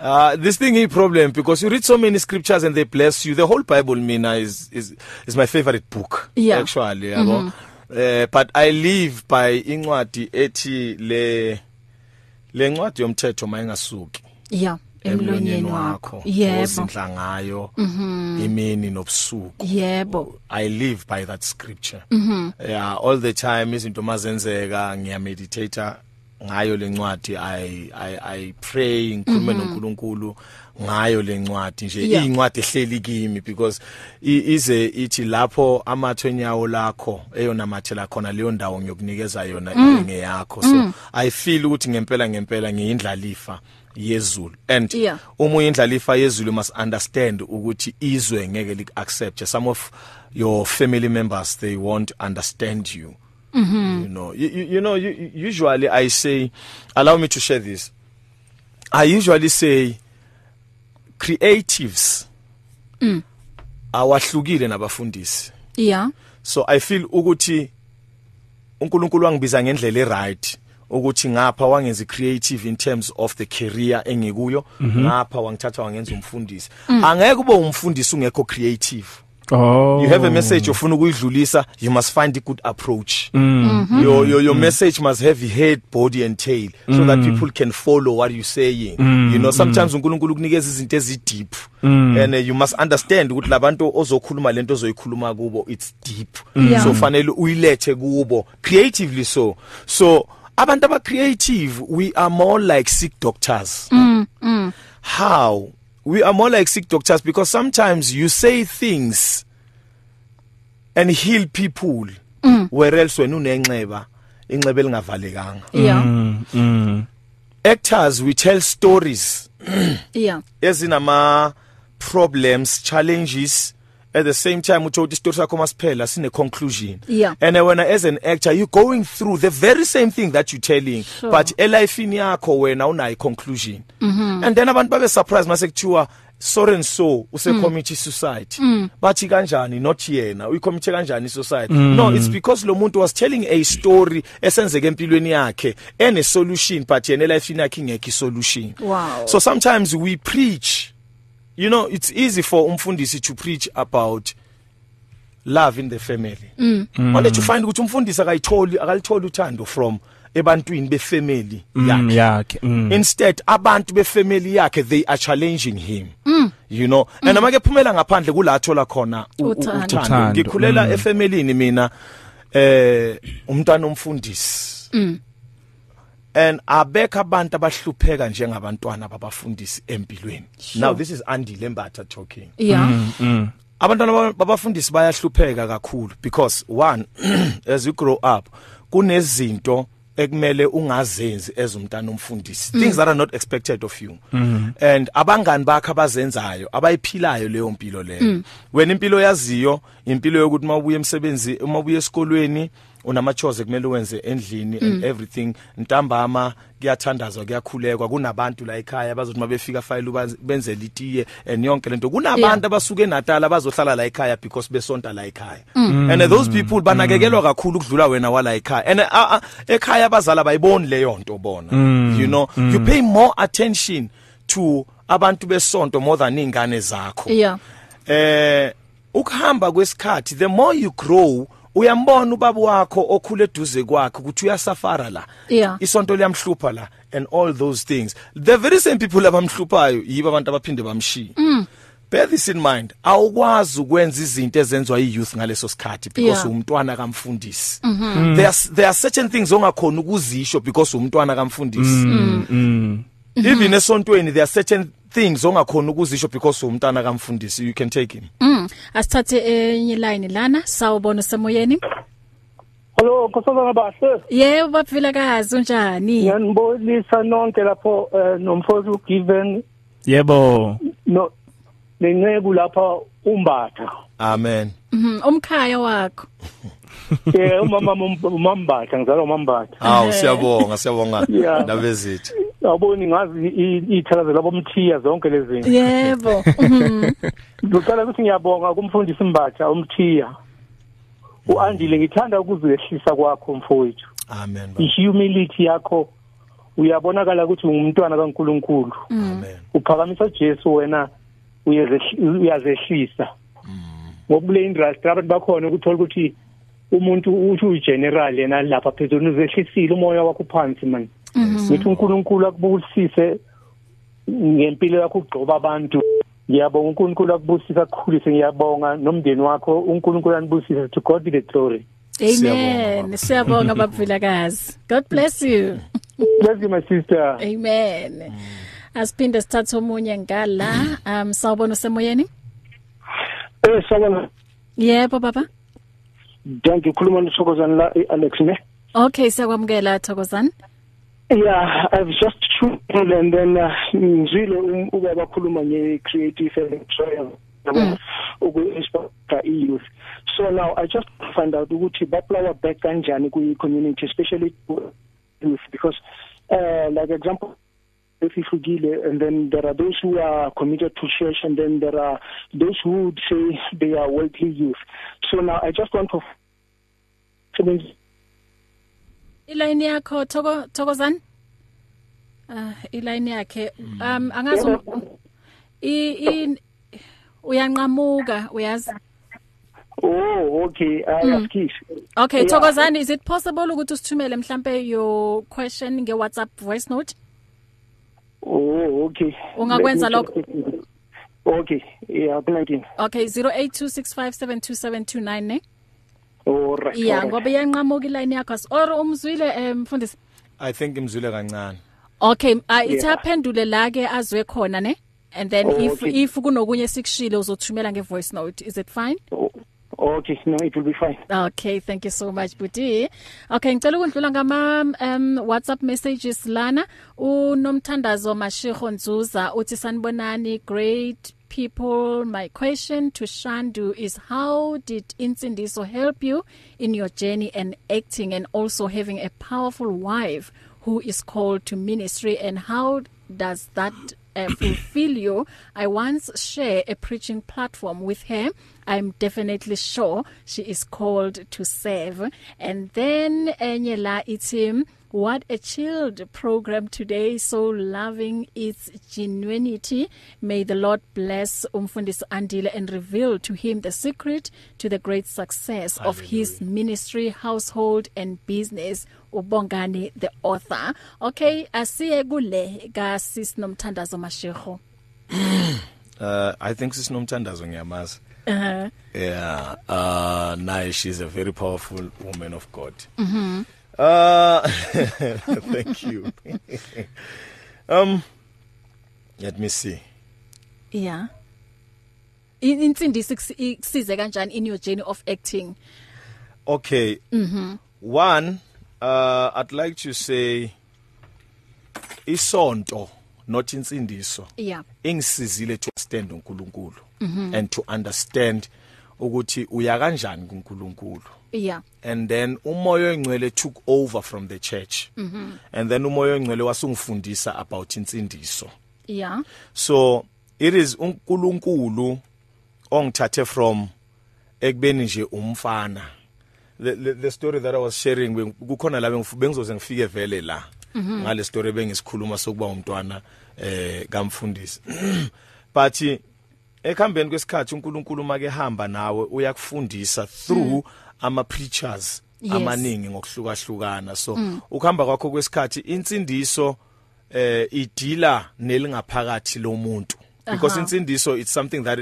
Uh, this thing is a problem because you read so many scriptures and they bless you. The whole Bible, Mina, is is, is my favorite book.
Yeah.
Actually, mm-hmm. uh, but I live by incwadi ethi le le ncwadi yomthetho mayingasuki
Yeah. Emlonyeni wakho. Yebo. Mm-hmm.
ozinhla ngayo imini nobusuku.
Yebo.
I live by that scripture. Mm-hmm. Yeah, all the time izinto mazenzeka ngiyameditate ngayo lencwadi I I I pray ngikhulume noNkulunkulu ngayo lencwadi nje
Yeah.
incwadi ehleli kimi because i- ize ithi lapho amathwe enyawo lakho eyonamathela khona leyo ndawo ngiyokunikeza yona ingenge yakho so I feel ukuthi ngempela ngempela ngiyindlalifa yezulu and
Yeah.
uma uyindlalifa yezulu you must understand ukuthi izwe ngeke lik accept some of your family members they won't understand you mm-hmm. you know you, you, you know you, you- usually i say allow me to share this i usually say creatives mm. awahlukile nabafundisi
Yeah.
so i feel ukuthi uNkulunkulu wangibiza ngendlela eright ukuthi ngapha wangenza creative in terms of the career engikuyo ngapha wangithatha wangenza umfundisi angeke ube umfundisi ungekho creative
Oh.
you have a message ufuna ukuyidlulisa you must find a good approach mm-hmm. your your, your mm. message must have head body and tail so mm. that people can follow what you saying mm. you know sometimes uNkulunkulu kunikeza izinto ezideep mm. and uh, you must understand ukuthi labantu ozokhuluma lento ozoyikhuluma kubo it's deep mm.
Yeah.
so fanele uyilethe kubo creatively so so abantu aba creative we are more like sick doctors mm. how we are more like sick doctors because sometimes you say things and heal people mm. where else wena unenxeba inxeba elingavalekanga
Yeah.
actors we tell stories
Yeah.
ezinama problems challenges at the same time uthi uthi story sakho masiphela sine conclusion
Yeah.
and uh, wena as an actor you going through the very same thing that you telling
Sure.
but elifeini yakho wena unayi conclusion
Mm-hmm.
and then abantu babe surprised mase kuthiwa so and so use
Mm.
committee suicide bathi kanjani not yena uyi committee kanjani suicide no it's because lo muntu was telling a story esenzeke empilweni yakhe ene solution but yena elifeini yakhe ingekho i solution
Wow.
so sometimes we preach you know it's easy for umfundisi to preach about love in the family mm. mm. only to find ukuthi umfundisi akayitholi akalitholi uthando from ebantwini befamily
Mm,
yakhe
yakhe. Mm.
instead abantu befamily yakhe they are challenging him mm. you know and amake phumela ngaphandle kulathola khona u- u-
Uthando.
Uthando,
ngikhulela
mm.
efamilini mina eh umntwana omfundisi and abekho abantu abahlupheka njengabantwana babafundisi empilweni now this is Andy Lembatha talking
Yeah.
abantwana baba- babafundisi bayahlupheka kakhulu because one <clears throat> as you grow up kunezinto ekumele ungazenzi as umntana omfundisi things that are not expected of you and abangani bakho abazenzayo abayiphilayo leyo mpilo leyo wena impilo yaziyo impilo yokuthi mawubuye emsebenzi mawubuye esikolweni unamachoze kumele wenze endlini and everything ntambama kuyathandazwa kuyakhulekwa kunabantu la ekhaya bazothi mabefika file uba- benzele itiye and yonke lento kunabantu abasuke eNatal abazohlala la ekhaya because besonta la ekhaya
Mm.
and those people banakekelwa kakhulu ukudlula wena wala ekhaya and uh, uh, ekhaya abazala bayiboni leyo nto bona
Mm.
you know you pay more attention to abantu besonto more than ingane zakho
Yeah.
eh ukuhamba kwesikhathi the more you grow uyambona ubaba wakho okhule eduze kwakhe ukuthi uyasafara la
Yeah.
isonto liyamhlupha la and all those things the very same people abamhluphayo yibo abantu abaphinde bamshiye mm. bear this in mind awukwazi ukwenza izinto ezenziwa yi-youth ngaleso sikhathi because
Yeah.
umntwana kamfundisi mm -hmm. there, are- there are certain things ongakhona ukuzisho because umntwana kamfundisi mm. Mm. even esontweni there are certain things ongakhona ukuzisho because umntwana kamfundisi you can take him
Mm. Asithathe eh, enye line lana sawubona semoyeni.
Hello, Nkosazana Bahle.
Yebo baphilakazi unjani?
Ngiyanibonisa nonke lapho eh, nomfozi uGiven
Yebo.
no nenceku lapha
<laughs>
umbatha.
amen
Mhm, Umkhaya wakho.
Eh umama umambatha ngizalwa umambatha.
awu siyabonga siyabonga
Yeah.
ndaba ezithu
Yaboni ngazi i- iy'thakazelo bomthiya zonke lezi zinto.
Yebo. Mhm.
Ngicela ukuthi ngiyabonga kumfundisi Mbatha umthiya. Uandile ngithanda ukuzehlisa kwakho mfowethu.
amen baba.
Ihumility yakho uyabonakala ukuthi ungumntwana kaNkuluNkulu.
amen
uphakamisa Jesu wena uyezehli- uyazehlisa ngoba kule industry abantu bakhona ukuthola ukuthi umuntu uthi uyigeneral yena lapha phezulu uzehlisile umoya wakho phansi manje ngithi uNkulunkulu akubusise ngempilo yakho ugcoba abantu ngiyabonga uNkulunkulu akubusisa akukhulise ngiyabonga nomndeni wakho uNkulunkulu anibusise to God be the glory
Amen. Siyabonga baphilakazi. God bless you.
bless you my sister
Amen. Asiphinde sithathe omunye ngala. Um sawubona semoyeni?
Eh sawona
Yebo baba.
danke khuluma nithokozani la iAlex ne.
Okay siyakwamukela Thokozani.
Yeah, I've just tuned and then uh, ngizwile um- ubaba khuluma ngeCreative and Trial yabo uku-inspire i-youth. So now I just find out ukuthi baplower back kanjani kwi-community especially to youth because uh, like example if you forgive it, and then there are those who are committed to church, and then there are those who would say they are worldly youth. So now I just want to
Iline yakho Thoko Thokozani? Ah iline yakhe um angazi um- i i- uyanqamuka uyazi.
Oh, okay. I mm. ask it.
Okay
Yeah.
Thokozani is it possible ukuthi usithumele mhlambe your question nge WhatsApp voice note?
Oh, okay.
Ungakwenza
Let me check. Okay. Yeah, planting.
Okay 0826572729 ne?
All right.
Yeah
all right.
ngoba iyanqamuka iline yakho as- or umzwile eh, mfundisi.
i think imzwile kancane
Okay, ayithaphendule la ke azwe khona ne? And then
Oh,
if
okay.
if kunokunye sikushilo uzothumela nge voice note. Is it fine?
Oh, okay. No, it will be fine.
Okay, thank you so much Buti. Okay, ngicela ukundlula ngama um WhatsApp messages lana. Unomthandazo Mashego Ndzuza uthi sanibonani great people my question to Shandu is how did Insindiso help you in your journey and acting and also having a powerful wife who is called to ministry and how does that uh, fulfill you i once share a preaching platform with her i'm definitely sure she is called to serve and then uh, enye la itim um, what a chilled program today so loving its genuinity may the lord bless umfundisi andile and reveal to him the secret to the great success Hallelujah. of his ministry household and business ubongani the author okay asiye kule ka sis nomthandazo mashego
uh, i think sisinomthandazo ngiyamaza
Uh-huh.
yeah uh, naye she's a very powerful woman of god mm -hmm. uh, <laughs> thank you <laughs> um, let me see
yeah In- insindisi kus- ikusize kanjani in your journey of acting
okay mm -hmm. one uh, i'd like to say isonto not insindiso
yeah
ingisizile to understand uNkulunkulu and to understand ukuthi uya kanjani kuNkulunkulu
yeah
and then umoya ongcwele took over from the church and then umoya ongcwele wasungifundisa about insindiso
yeah
so it is uNkulunkulu ongithathe from ekubeni nje umfana the, the, the story that i was sharing beng- kukhona la bengifu- bengizoze ngifike vele la ngale story bengisikhuluma sokuba umntwana eh kamfundisi <clears throat> but eh, ekuhambeni kwesikhathi uNkulunkulu make hamba nawe uyakufundisa through ama preachers
Yes.
amaningi ngokuhlukahlukana so
Mm.
ukuhamba kwakho kwesikhathi insindiso eh idila nelingaphakathi lomuntu because
Aha.
insindiso it's something that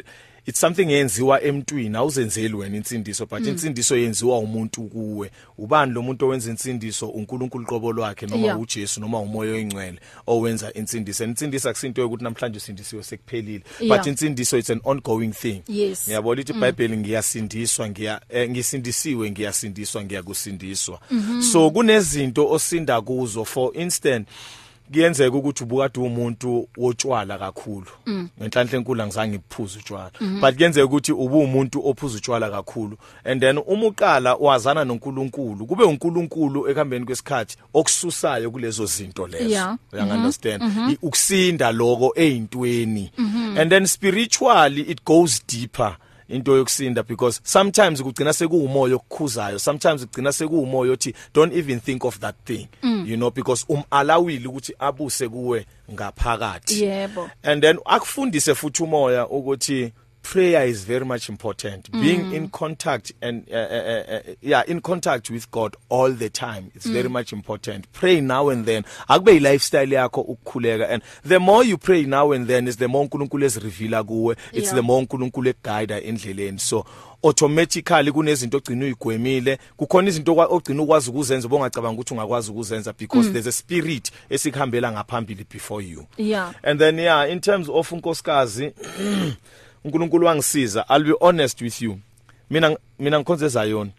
it's something yenziwa emntwini awuzenzeli wena insindiso but
Mm.
insindiso yenziwa umuntu kuwe ubani lo muntu owenza insindiso uNkulunkulu qobo lwakhe
Yeah.
noma uJesu noma umoya oyingcwele owenza insindiso And insindiso akusinto yokuthi namhlanje usindisiwe sekuphelile
Yeah.
but insindiso it's an ongoing thing
Yes.
yabo lithi iBhayibheli ngiyasindiswa ngiya eh, ngisindisiwe ngiyasindiswa ngiyakusindiswa so kunezinto osinda kuzo for instance kuyenzeka ukuthi ubukade umuntu wotshwala kakhulu ngenhlanhla enkulu angizange ngiphuze utshwala but kuyenzeka ukuthi ubu umuntu ophuza utshwala kakhulu and then uma uqala wazana noNkulunkulu kube uNkulunkulu ekuhambeni kwesikhathi okususayo kulezo zinto lezo
Yeah.
uyang understand I- ukusinda lokho eyintweni and then spiritually it goes deeper into yokusinda because sometimes kugcina sekuumoya okukhuzayo sometimes kugcina sekuumoya othi don't even think of that thing you know because umalawile ukuthi abuse kuwe ngaphakathi
Yebo.
and then akufundise futhi umoya ukuthi prayer is very much important mm. being in contact and uh, uh, uh, uh, yeah in contact with God all the time it's mm. very much important pray now and then akube i lifestyle yakho ukukhuleka and the more you pray now and then is the more uNkulunkulu is reveala kuwe it's
Yeah.
the more uNkulunkulu eguide endleleni so automatically kunezinto ogcina uyigwemile kukhona izinto okwa- ogcina ukwazi ukuzenza bongacabanga ukuthi ungakwazi ukuzenza because mm. there's a spirit esikuhambela ngaphambili before you
Yeah.
and then yeah in terms of unkosikazi <clears throat> uNkulunkulu wangisiza I'll be honest with you mina mina ngikhonze zayona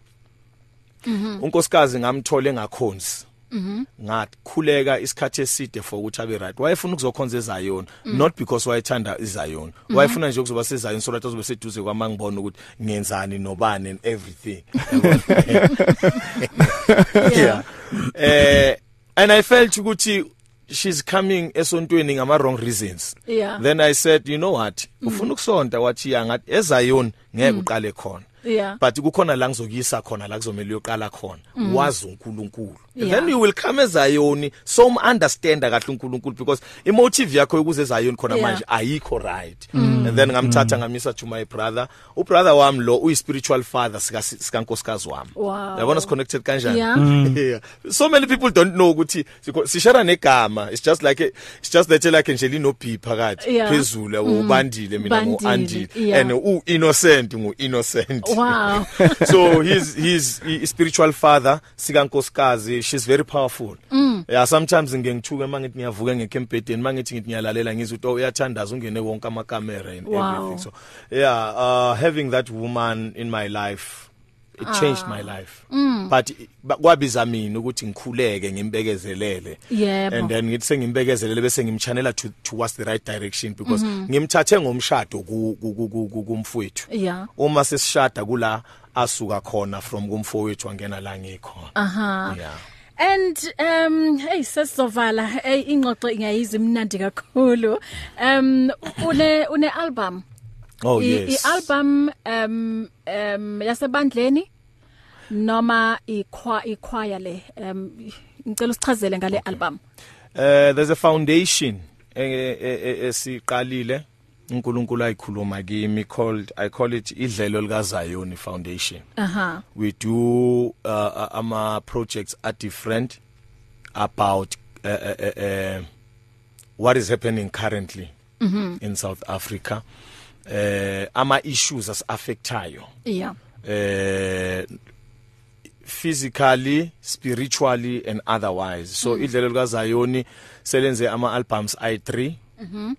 Mm-hmm.
unkosikazi ngamthola engakhonzi ngakhuleka isikhathi eside for ukuthi abe right wayefuna ukuzokhonza ezayona
Mm.
not because wayethanda izayona
Mm-hmm.
wayefuna nje ukuzoba sezayona so that azobe seduze kwama ngibona ukuthi ngenzani nobani and
<laughs>
everything yeah eh and i felt ukuthi she's coming esontweni ngama wrong reasons
Yeah. Mm-hmm.
then i said you know what ufuna ukusonta wathi yangathi ezayona ngeke uqale khona
Mm. Yeah.
but kukhona la ngizokuyisa khona la kuzomela uyoqala khona wazi uNkulunkulu
Mm. Yeah.
then you will come ezayoni so um understand kahle uNkulunkulu because emotive yakho yokuze ezayoni khona
Yeah. Mm.
manje ayikho right and then ngamthatha ngamisa to my brother ubrother wami lo uyi spiritual father sika sikankosikazi wami
Wow.
yabona siconnected kanjani
Yeah.
<laughs> yeah. so many people don't know ukuthi sikho- sishara negama it's just like it's just that like nje lino B phakathi
Yeah. Mm.
phezulu yabo, ubandile mina
Bandile,
ngoandile
yeah.
and u innocent ngu innocent
Wow.
<laughs> so he's he's i- spiritual father sika nkosikazi she's very powerful mm. yeah sometimes ngiye ngithuke mangithi ngiyavuka ngekempedeni mangithi ngithi ngiyalalela ngizwe ukuthi oh, uyathandaza ungene wonke ama camera and
Wow.
everything so yeah uh having that woman in my life it changed my life mm. but i- ba- kwabiza mina ukuthi ngikhuleke ngimbekezelele
Yebo.
and then ngithi sengimbekezelele bese ngimchanela to towards the right direction because ngimthathe ngomshado ku- ku- ku- ku- ku- kumfowethu
Yeah.
uma sesishada kula asuka khona from kumfowethu wangena la ngikhona
aha
yeah
and um hey sesizovala hey ingxoxo ingayizwa imnandi kakhulu um une une album
oh
I-
yes
i-album um um yasebandleni noma ikhwa ikhwaya le um ngicela usichazele ngale album
uh, there's a foundation eh, eh, eh, esiqalile uNkulunkulu ayikhuluma kimi called I call it idlelo lika Zion Foundation
aha
we do uh, uh, ama projects are different about uh, uh, uh, uh, what is happening currently
Mhm.
mm-hmm. in South Africa uh, ama issues as affectayo
yeah
eh physically spiritually and otherwise so idlelo lika Zayoni selenze ama albums i3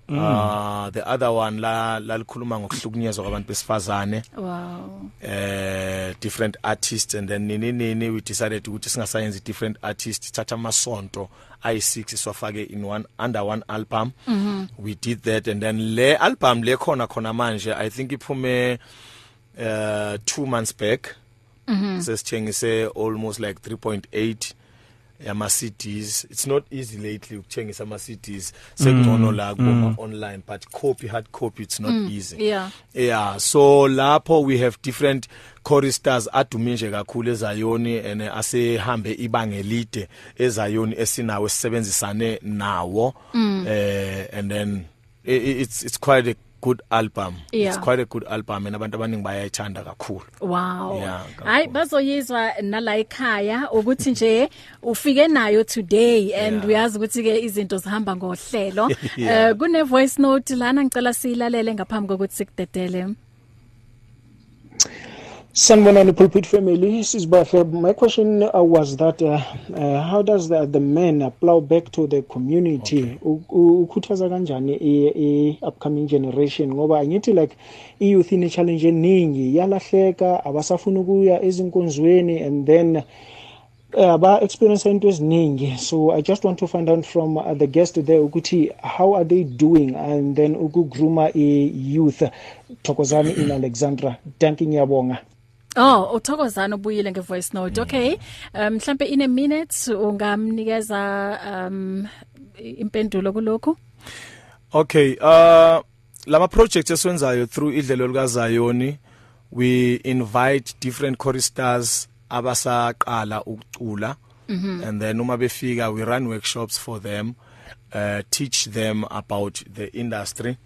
uh the other one la lalikhuluma ngokuhlukunyezwa kwabantu besifazane
wow
eh different artists and then nini nini we decided ukuthi singasayenzi different artists thatha amasonto i6 swafake in one under one album mm -hmm. we did that and then le album le khona khona manje i think iphume uh 2 months back sesithengise almost like 3.8 yama CDs it's not easy lately ukuthengisa ama CDs sekungcono la kuma online but copy hard copy it's not easy
yeah.
yeah so lapho we have different choristers aduminje kakhulu ezayoni and asehambe ibanga elide ezayoni esinawo sisebenzisane nawo eh and then i- i- it's it's quite a good album
Yeah.
it's quite a good album and abantu abaningi bayayithanda kakhulu
Wow.
Yeah, kakhulu.
Hayi bazoyizwa nala ekhaya ukuthi nje ufike nayo today and
Yeah.
uyazi ukuthi ke izinto zihamba
<laughs>
ngohlelo.
Yeah.
Eh kune voice note lana ngicela siyilalele ngaphambi kokuthi sikudedele.
Sanbonani Pulpit family, Sisbahle. My question uh, was that uh, uh, how does the, the men plow back to the community? U- u- Ukhuthaza kanjani i- i- upcoming generation ngoba ngithi like iyouth ine challenge eningi yalahleka abasafuna ukuya ezinkonzweni and then uh, ba-experience into eziningi so i just want to find out from uh, the guest there ukuthi how are they doing and then ukugrooma i-youth thokozani in alexandra danki ngiyabonga
Oh, uthokozana ubuyile ngevoice note. Okay. Um mhlambe in a minute ungamnikeza um impendulo kulokho.
Okay, uh lama projects esiwenzayo through idlelo likazayoni we invite different choristers abasaqala ukucula and then uma befika we run workshops for them uh teach them about the industry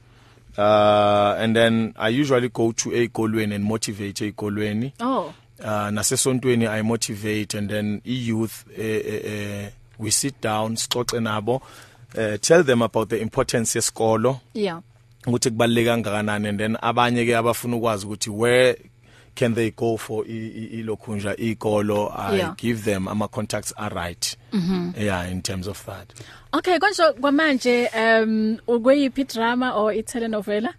uh and then I usually go to ezikolweni and motivate ezikolweni
Oh.
uh nasesontweni i motivate and then i youth eh, eh, eh, we sit down sixoxe nabo eh, tell them about the importance yesikolo
Yeah.
ukuthi kubaluleke kangakanani and then abanye ke abafuna ukwazi ukuthi where can they go for i- i- ilokhunja ikolo i
Yeah. Mm-hmm.
give them ama contacts are right yeah in terms of that
Okay, konje kwamanje um ukweyiphi drama or i
<laughs>
telenovela?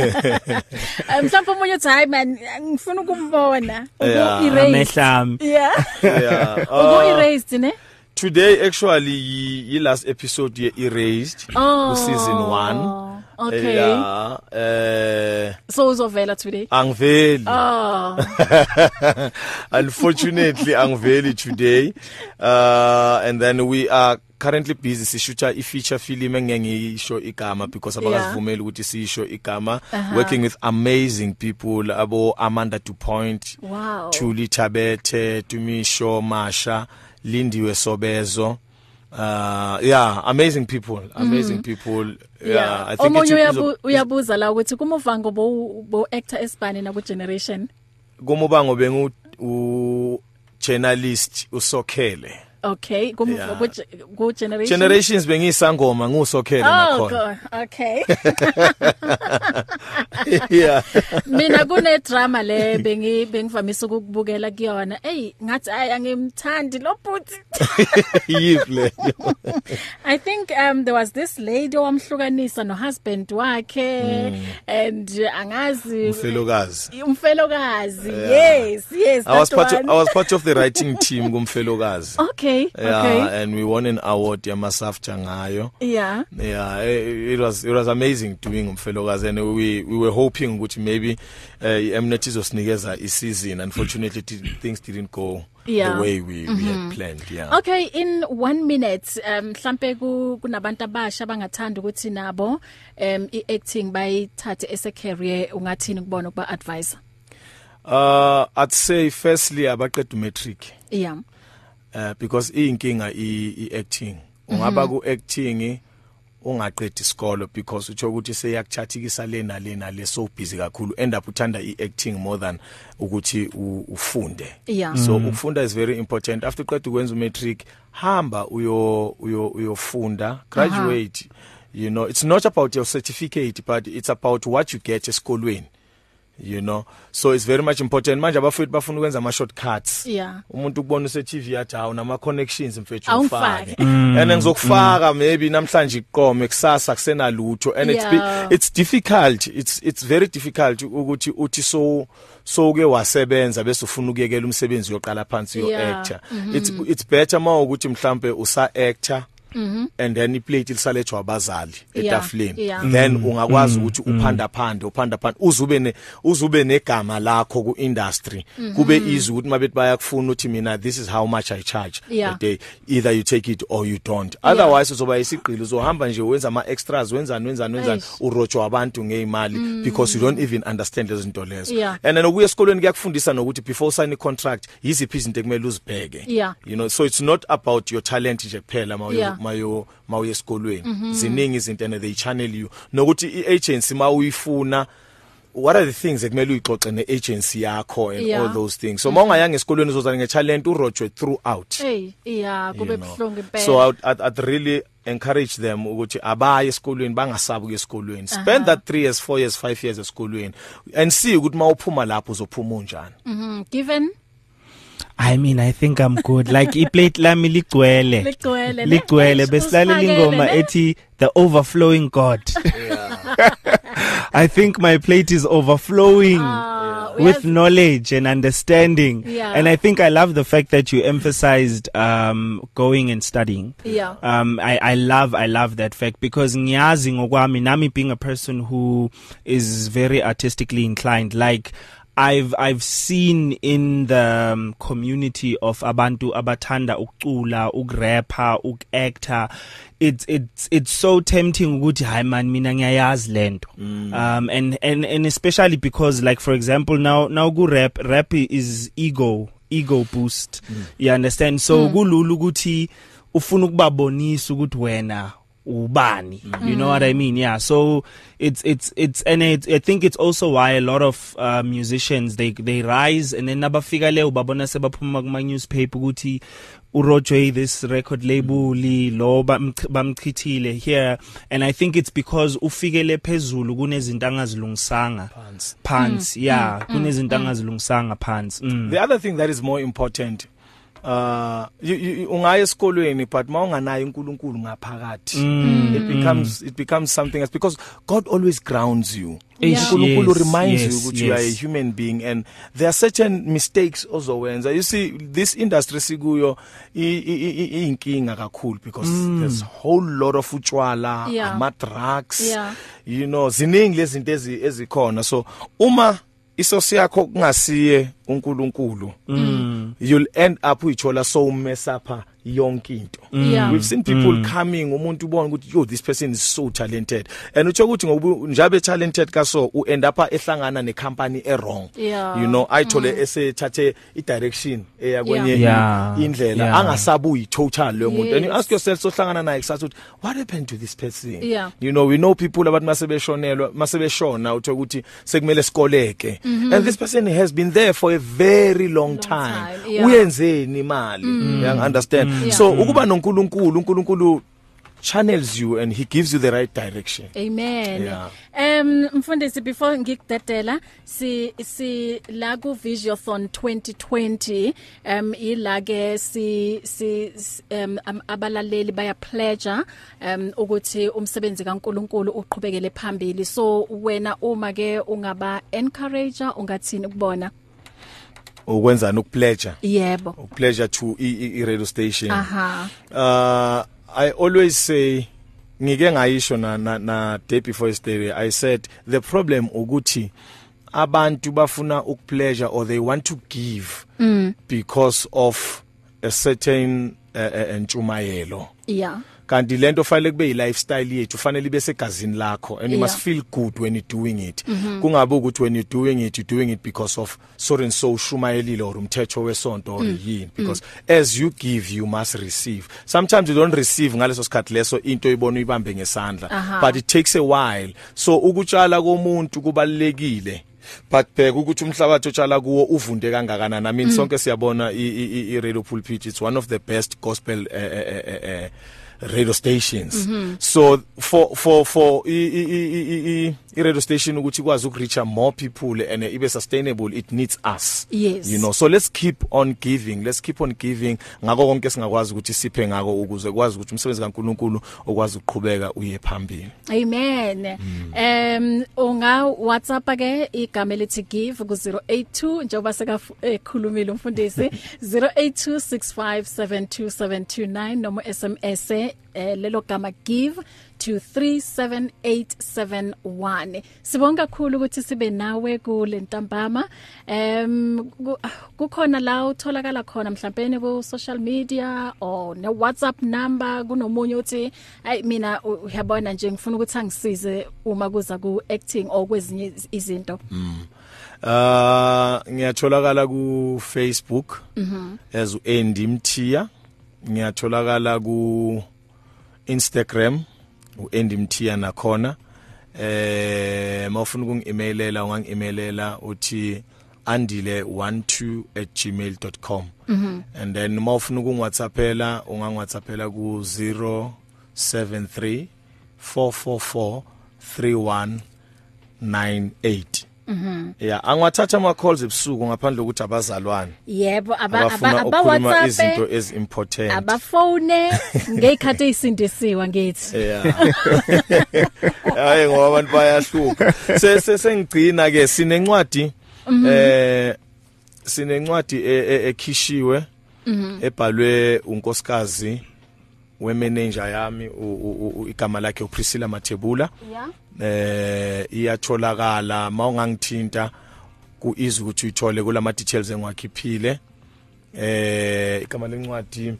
Um mhlawumbe umunye uthi hayi man ngifuna ukumbona
<laughs> Yeah,
uku-erase.
amehlami
<laughs>
Yeah.
yeah uh,
Uku-erase ne?
today actually yi, yi last episode ye erased
Oh.
ku season 1
Okay.
yeah eh
So uzovela today.
angiveli Ah.
Oh.
<laughs> unfortunately angiveli today uh and then we are currently busy sishuta ifeature film engengiyisho igama because
Yeah.
abakavumeli ukuthi sisho igama
Uh-huh.
working with amazing people abo Amanda DuPont
Wow.
Thuli Thabethe Tumisho Masha Lindiwe Sobezo uh yeah amazing people amazing people yeah, i think
Mm-hmm. omunye
it-
uyabu- uyabuza la ukuthi kumuvango bo bo actor esibani na ku generation.
kumubango bengu u journalist usokhele
Okay,
Yeah.
kumuva ku- ku generation.
generations bengiyisangoma ngusokhele
Oh
nakhona
god.
<laughs>
Okay.
yeah
mina kune drama le bengi bengivamisa ukukubukela kuyona hey ngathi ay angimthandi lo bhuti
yiple
i think um there was this lady owamhlukanisa no husband wakhe
Mm.
and uh, angazi
mfelokazi
umfelokazi yes yes
i was
that
part of, i
one
was part of the writing team kumfelokazi
<laughs> okay
yeah
okay
and we won an award yamasafta ngayo
yeah
yeah eh, it was it was amazing doing umfelokazi and we we were hoping ukuthi maybe uh, Mnet izosinikeza i-season unfortunately thi- things didn't go
Yeah. Mm-hmm.
the way we, we had planned yeah
Okay in 1 minute um mhlambe ku- kunabantu abasha bangathanda ukuthi nabo um iacting bayithathe as a career ungathini kubona ukuba advisor
uh i'd say firstly abaqeda matric
yeah
uh, because iyinkinga i, i acting ungaba ku acting ungaqedi isikolo because utsho ukuthi seyakuchathikisa le nale nale so busy kakhulu end up uthanda i acting more than ukuthi u- ufunde
Yeah.
so ukufunda is very important after uqeda ukwenza umatric hamba uyo uyo uyofunda graduate you know it's not about your certificate but it's about what you get esikolweni you know so it's very much important manje abafethu bafuna ukwenza ama shortcuts
Yeah.
umuntu ukubona use TV yathi hawu nama connections mfethu
Awumfake.
ufake and ngizokufaka maybe namhlanje iqome kusasa kusenalutho and it's
Yeah.
be- it's difficult it's it's very difficult ukuthi uthi so so ke wasebenza bese ufuna ukuyekela umsebenzi yoqala phansi yo
Yeah. Mm-hmm.
actor it's it's better uma ukuthi mhlambe usa actor and then iplate lisalejwa abazali
Mm-hmm. Yeah,
etafuleni
yeah.
then ungakwazi ukuthi uphanda phande uphanda phande uzube ne uzube negama lakho ku industry
Mm-hmm.
kube easy ukuthi mabethi bayakufuna uthi mina this is how much i charge
Yeah.
a day either you take it or you don't otherwise uzoba isigqilo uzohamba nje wenza ama extras wenzani wenzani wenzani
Eish. Mm.
urojwa abantu ngeimali because you don't even understand lezi zinto lezo
Yeah.
and then ukuya esikolweni kuyakufundisa nokuthi before usign contract yiziphi izinto ekumele uzibheke
Yeah.
you know so it's not about your talent nje kuphela mawu-
Yeah. Mm-hmm.
mayo mawuye esikolweni ziningi izinto and they channel you nokuthi iagency mawuyifuna what are the things ekumele uyixoxe neagency yakho and
Yeah. Mm-hmm.
all those things so mawungayanga esikolweni uzozana ngetalent urojwe throughout
hey yeah Eh,
you
kube
know.
buhlungu impela
so I'd, I'd, I'd really encourage them ukuthi abaye esikolweni bangasabi kuye esikolweni spend that 3 years 4 years 5 years esikolweni and see ukuthi mawuphuma lapho uzophuma unjani
Mhm, given
I mean I think I'm good like iplate lami ligcwele
Ligcwele, ne?
ligcwele
Usi-
besilalela
usifakele,
ingoma
ne?
ethi the overflowing god <laughs> I think my plate is overflowing
Ah,
with
uyazi-
knowledge and understanding
Yeah.
and I think I love the fact that you emphasized um going and studying
yeah
um i i love i love that fact because ngiyazi ngokwami nami being a person who is very artistically inclined like I've I've seen in the um, community of abantu abathanda ukucula, ukurapper, ukactor it's it's it's so tempting ukuthi hi man mina ngiyayazi lento. Um and and and especially because like for example now now ku rap rap is ego ego boost. Mm. You understand? So kulula ukuthi ufuna ukubabonisa ukuthi wena ubani
Mm.
you know what i mean yeah so it's it's it's and it, i think it's also why a lot of uh, musicians they they rise and then abafika le ubabona sebaphuma kuma newspaper ukuthi uRojoy this record label lo bamch- bamchithile here and i think it's because ufikele phezulu kunezinto angazilungisanga pants pants yeah kunezinto angazilungisanga pants mm.
the other thing that is more important uh you, you, you- ungaya esikolweni but mawunganayo uNkulunkulu ngaphakathi it becomes it becomes something else because God always grounds you
Eish,
uNkulunkulu
yes,
reminds
yes,
you ukuthi you are a
yes.
human being and there are certain mistakes ozowenza you see this industry sikuyo i- i- i- iyinkinga kakhulu because
Mm.
there's whole lot of utshwala
Yeah.
ama drugs
Yeah.
you know ziningi lezinto ezi- ezikhona so uma isosi yakho kungasiye uNkulunkulu
Mm.
Mm. you'll end up uyithola so mess up yonke into
Yeah.
we've seen people mm. coming umuntu ubona ukuthi yo this person is so talented and utsho ukuthi ngoba njabe talented kaso u end up ehlangana ne company e wrong
Yeah.
you know ayithole mm. esethathe i direction eya kwenye
Yeah.
i- indlela
Yeah.
angasabuyi total lo muntu and you
Yes.
ask yourself sohlangana naye kusasa ukuthi what happened to this person
Yeah.
you know we know people abathi masebeshonelwa masebeshona uthe ukuthi sekumele sikoleke
Mm-hmm.
and this person has been there for a very long, long time,
time, yeah.
uyenzeni imali you understand
Yeah.
so ukuba noNkulunkulu uNkulunkulu channels you and he gives you the right direction
Amen.
Yeah.
Um mfundisi before ngikudedela si si la ku Visionathon 2020 um ila ke si si s- um am- abalaleli baya pledge um ukuthi umsebenzi kaNkuluNkulu uqhubekele phambili so wena uma ke ungaba encourager ungathini ukubona
ukwenzani ukupleasure
yebo
ukupleasure to i, i, i radio station
aha
uh i always say ngike ngayisho na na, na day before yesterday i said the problem ukuthi abantu bafuna ukupleasure or they want to give mm. because of a certain uh, uh, ntshumayelo
yeah
kanti lento fanele kube yilifestyle yethu fanele ibe segazini lakho and you
Yeah. Mm-hmm.
must feel good when you doing it kungabe ukuthi when you doing it you doing it because of so and so shumayelile or umthetho wesonto
Mm.
or yini because as you give you must receive sometimes you don't receive ngaleso sikhathi leso into oyibona uyibambe ngesandla
Aha.
but it takes a while so ukutshala komuntu kubalekile but bheka ukuthi umhlabathi otshala kuwo uvunde kangakanani i mean sonke siyabona i- i i- radio pulpit it's one of the best gospel uh, uh, uh, radio stations mm-hmm. so for for for i, i, i, i, i- i radio station ukuthi ikwazi ukureacha more people and uh, ibe sustainable it needs us
Yes.
you know so let's keep on giving let's keep on giving ngako konke singakwazi ukuthi siphe ngako ukuze kwazi ukuthi umsebenzi kaNkuluNkulu okwazi ukuqhubeka uye phambili
Amen. Em unga WhatsApp ake igama elithi give ku 082 njengoba seka eh, <laughs> ekhulumile umfundisi 0826572729 noma SMS uthumele eh, lelo gama give to 37871 sibonga kakhulu ukuthi sibe nawe kule ntambama em ku- kukhona la utholakala khona mhlawumbe ku social media or ne WhatsApp number kunomunye uthi ay mina u- uyabona nje ngifuna ukuthi angisize uma kuza ku acting or kwezinye iz- izinto
Mm. Ah ngiyatholakala ku Facebook as uAndy Mthia ngiyatholakala ku Instagram uAndy Mthia nakhona eh mawufuna ukungi-emailela ungangi-emailela uthi andile12@gmail.com and then mawufuna ukungwhatsappela ungangwhatsappela ku 073 444 3198 ya angwathatha ama-calls ebusuku ngaphandle kokuthi abazalwane
yebo aba
abafuna
aba aba
ukukhuluma izinto
WhatsApp
ezi-important <laughs>
abafone ngeyikhathi ezisindisiwa ngithi
ya <laughs> hayi ngoba abantu bayahluka Se- se- sengigcina-ke sinencwadi eh sinencwadi e- e- ekhishiwe ebhalwe unkosikazi wemenenja yami u- u- u- igama lakhe upriscilla mathebula
yeah
eh iyatholakala mawungangithinta kuizi ukuthi uyithole kulama details engwakhiphile eh igama lencwadi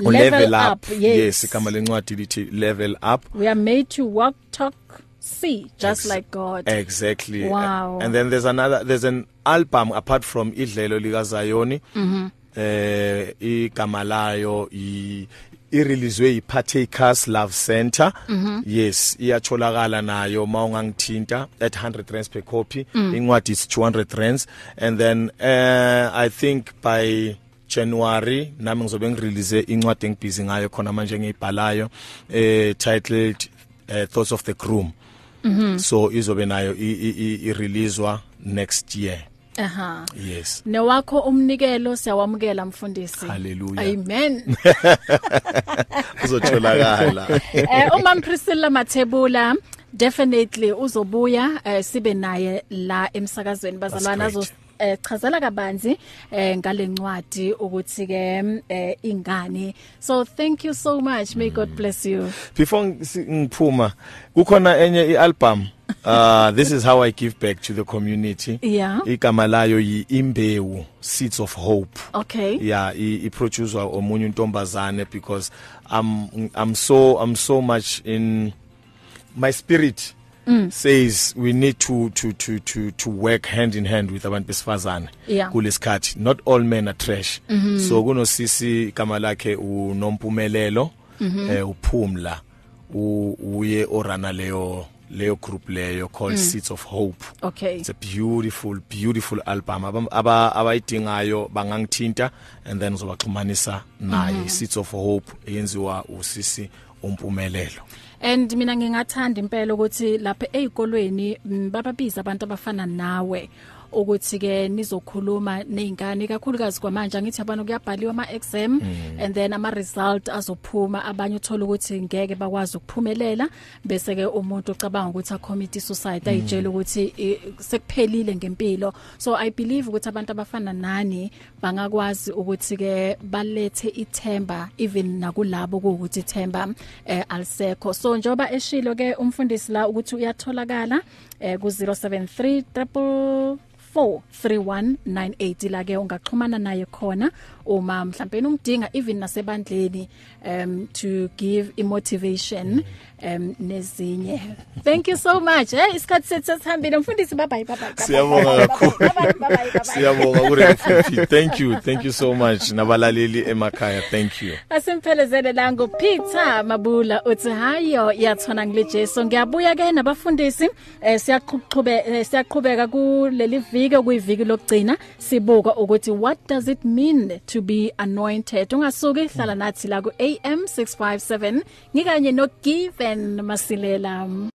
u-
Level Up, yes.
yes igama lencwadi lithi level up
we are made to walk talk see just like god
Eh. exactly
Wow.
and then there's another there's an album apart from idlelo likazayoni
Mm-hmm.
eh igama layo i ireleasewe yipartakers love center
Mm-hmm.
yes iyatholakala nayo mawungangithinta at 100 rands per copy
Mm.
incwadi is 200 rands and then uh, i think by January nami ngizobe ngirelease incwadi engibhizi ngayo khona manje ngiyibhalayo eh titled uh, Thoughts of the Groom so izobe nayo i- i- i- ireleasewa next year
aha
yes
newakho umnikelo siyawamukela mfundisi
Hallelujah. <laughs>
amen
kuzotholakala
eh uma Priscilla Mathebula definitely uzobuya eh, sibe naye la emsakazweni bazalwana
That's
azo
great.
eh chazela kabanzi eh ngalencwadi ukuthi ke eh ingane so thank you so much may
Mm.
god bless you
before ngi- si- ngiphuma kukhona enye ialbum uh this is how i give back to the community
Yeah.
igama layo yiimbewu seeds of hope
okay
yeah i, i producer omunye untombazane because i'm i'm so i'm so much in my spirit mm. says we need to to to to to work hand in hand with abantu besifazane
Yeah.
kulesikhathi not all men are trash mm -hmm. so kunosisi igama lakhe unompumelelo mm -hmm. eh, uphumla u- uye orana leyo leyo group leyo called mm. seeds of hope
okay
It's a beautiful beautiful album Abam- aba- abayidingayo bangangithinta and then ngizobaxhumanisa naye Seeds of Hope eyenziwa usisi umpumelelo
and mina ngingathanda impela ukuthi lapha ezikolweni mm, bababiza abantu abafana nawe ukuthi ke nizokhuluma nezingane kakhulukazi kwamanje ngithi abantu kuyabhaliwa ama exam and then ama result azophuma abanye uthola ukuthi ngeke bakwazi ukuphumelela bese ke umuntu ucabanga ukuthi a committee suicide ayitshela ukuthi eh, sekuphelile ngempilo so i believe ukuthi abantu abafana nani bangakwazi ukuthi ke eh, balethe ithemba even nakulabo ukuthi ithemba eh, alisekho so njoba eshilo ke umfundisi la ukuthi uyatholakala eh, ku 073 triple 43198 la ke ungaxhumana naye khona uma mhlawumbe umdinga even nasebandleni um to give i motivation um nezinye thank you so much hey isikhathi sethu sesihambile mfundisi bye bye bye bye, bye
Siyabonga
kakhulu
siyabonga kure thank you thank you so much nabalaleli emakhaya thank you
Asimphelezele la ngo Peter Mabula uthi hayo yathona ngile Jesu ngiyabuya ke nabafundisi eh, siyaqhubeka eh, siyaqhubeka kuleli viki okuyiviki lokugcina sibuka ukuthi what does it mean to be anointed ungasuki hlala nathi la ku AM 657 ngikanye no Given Masilela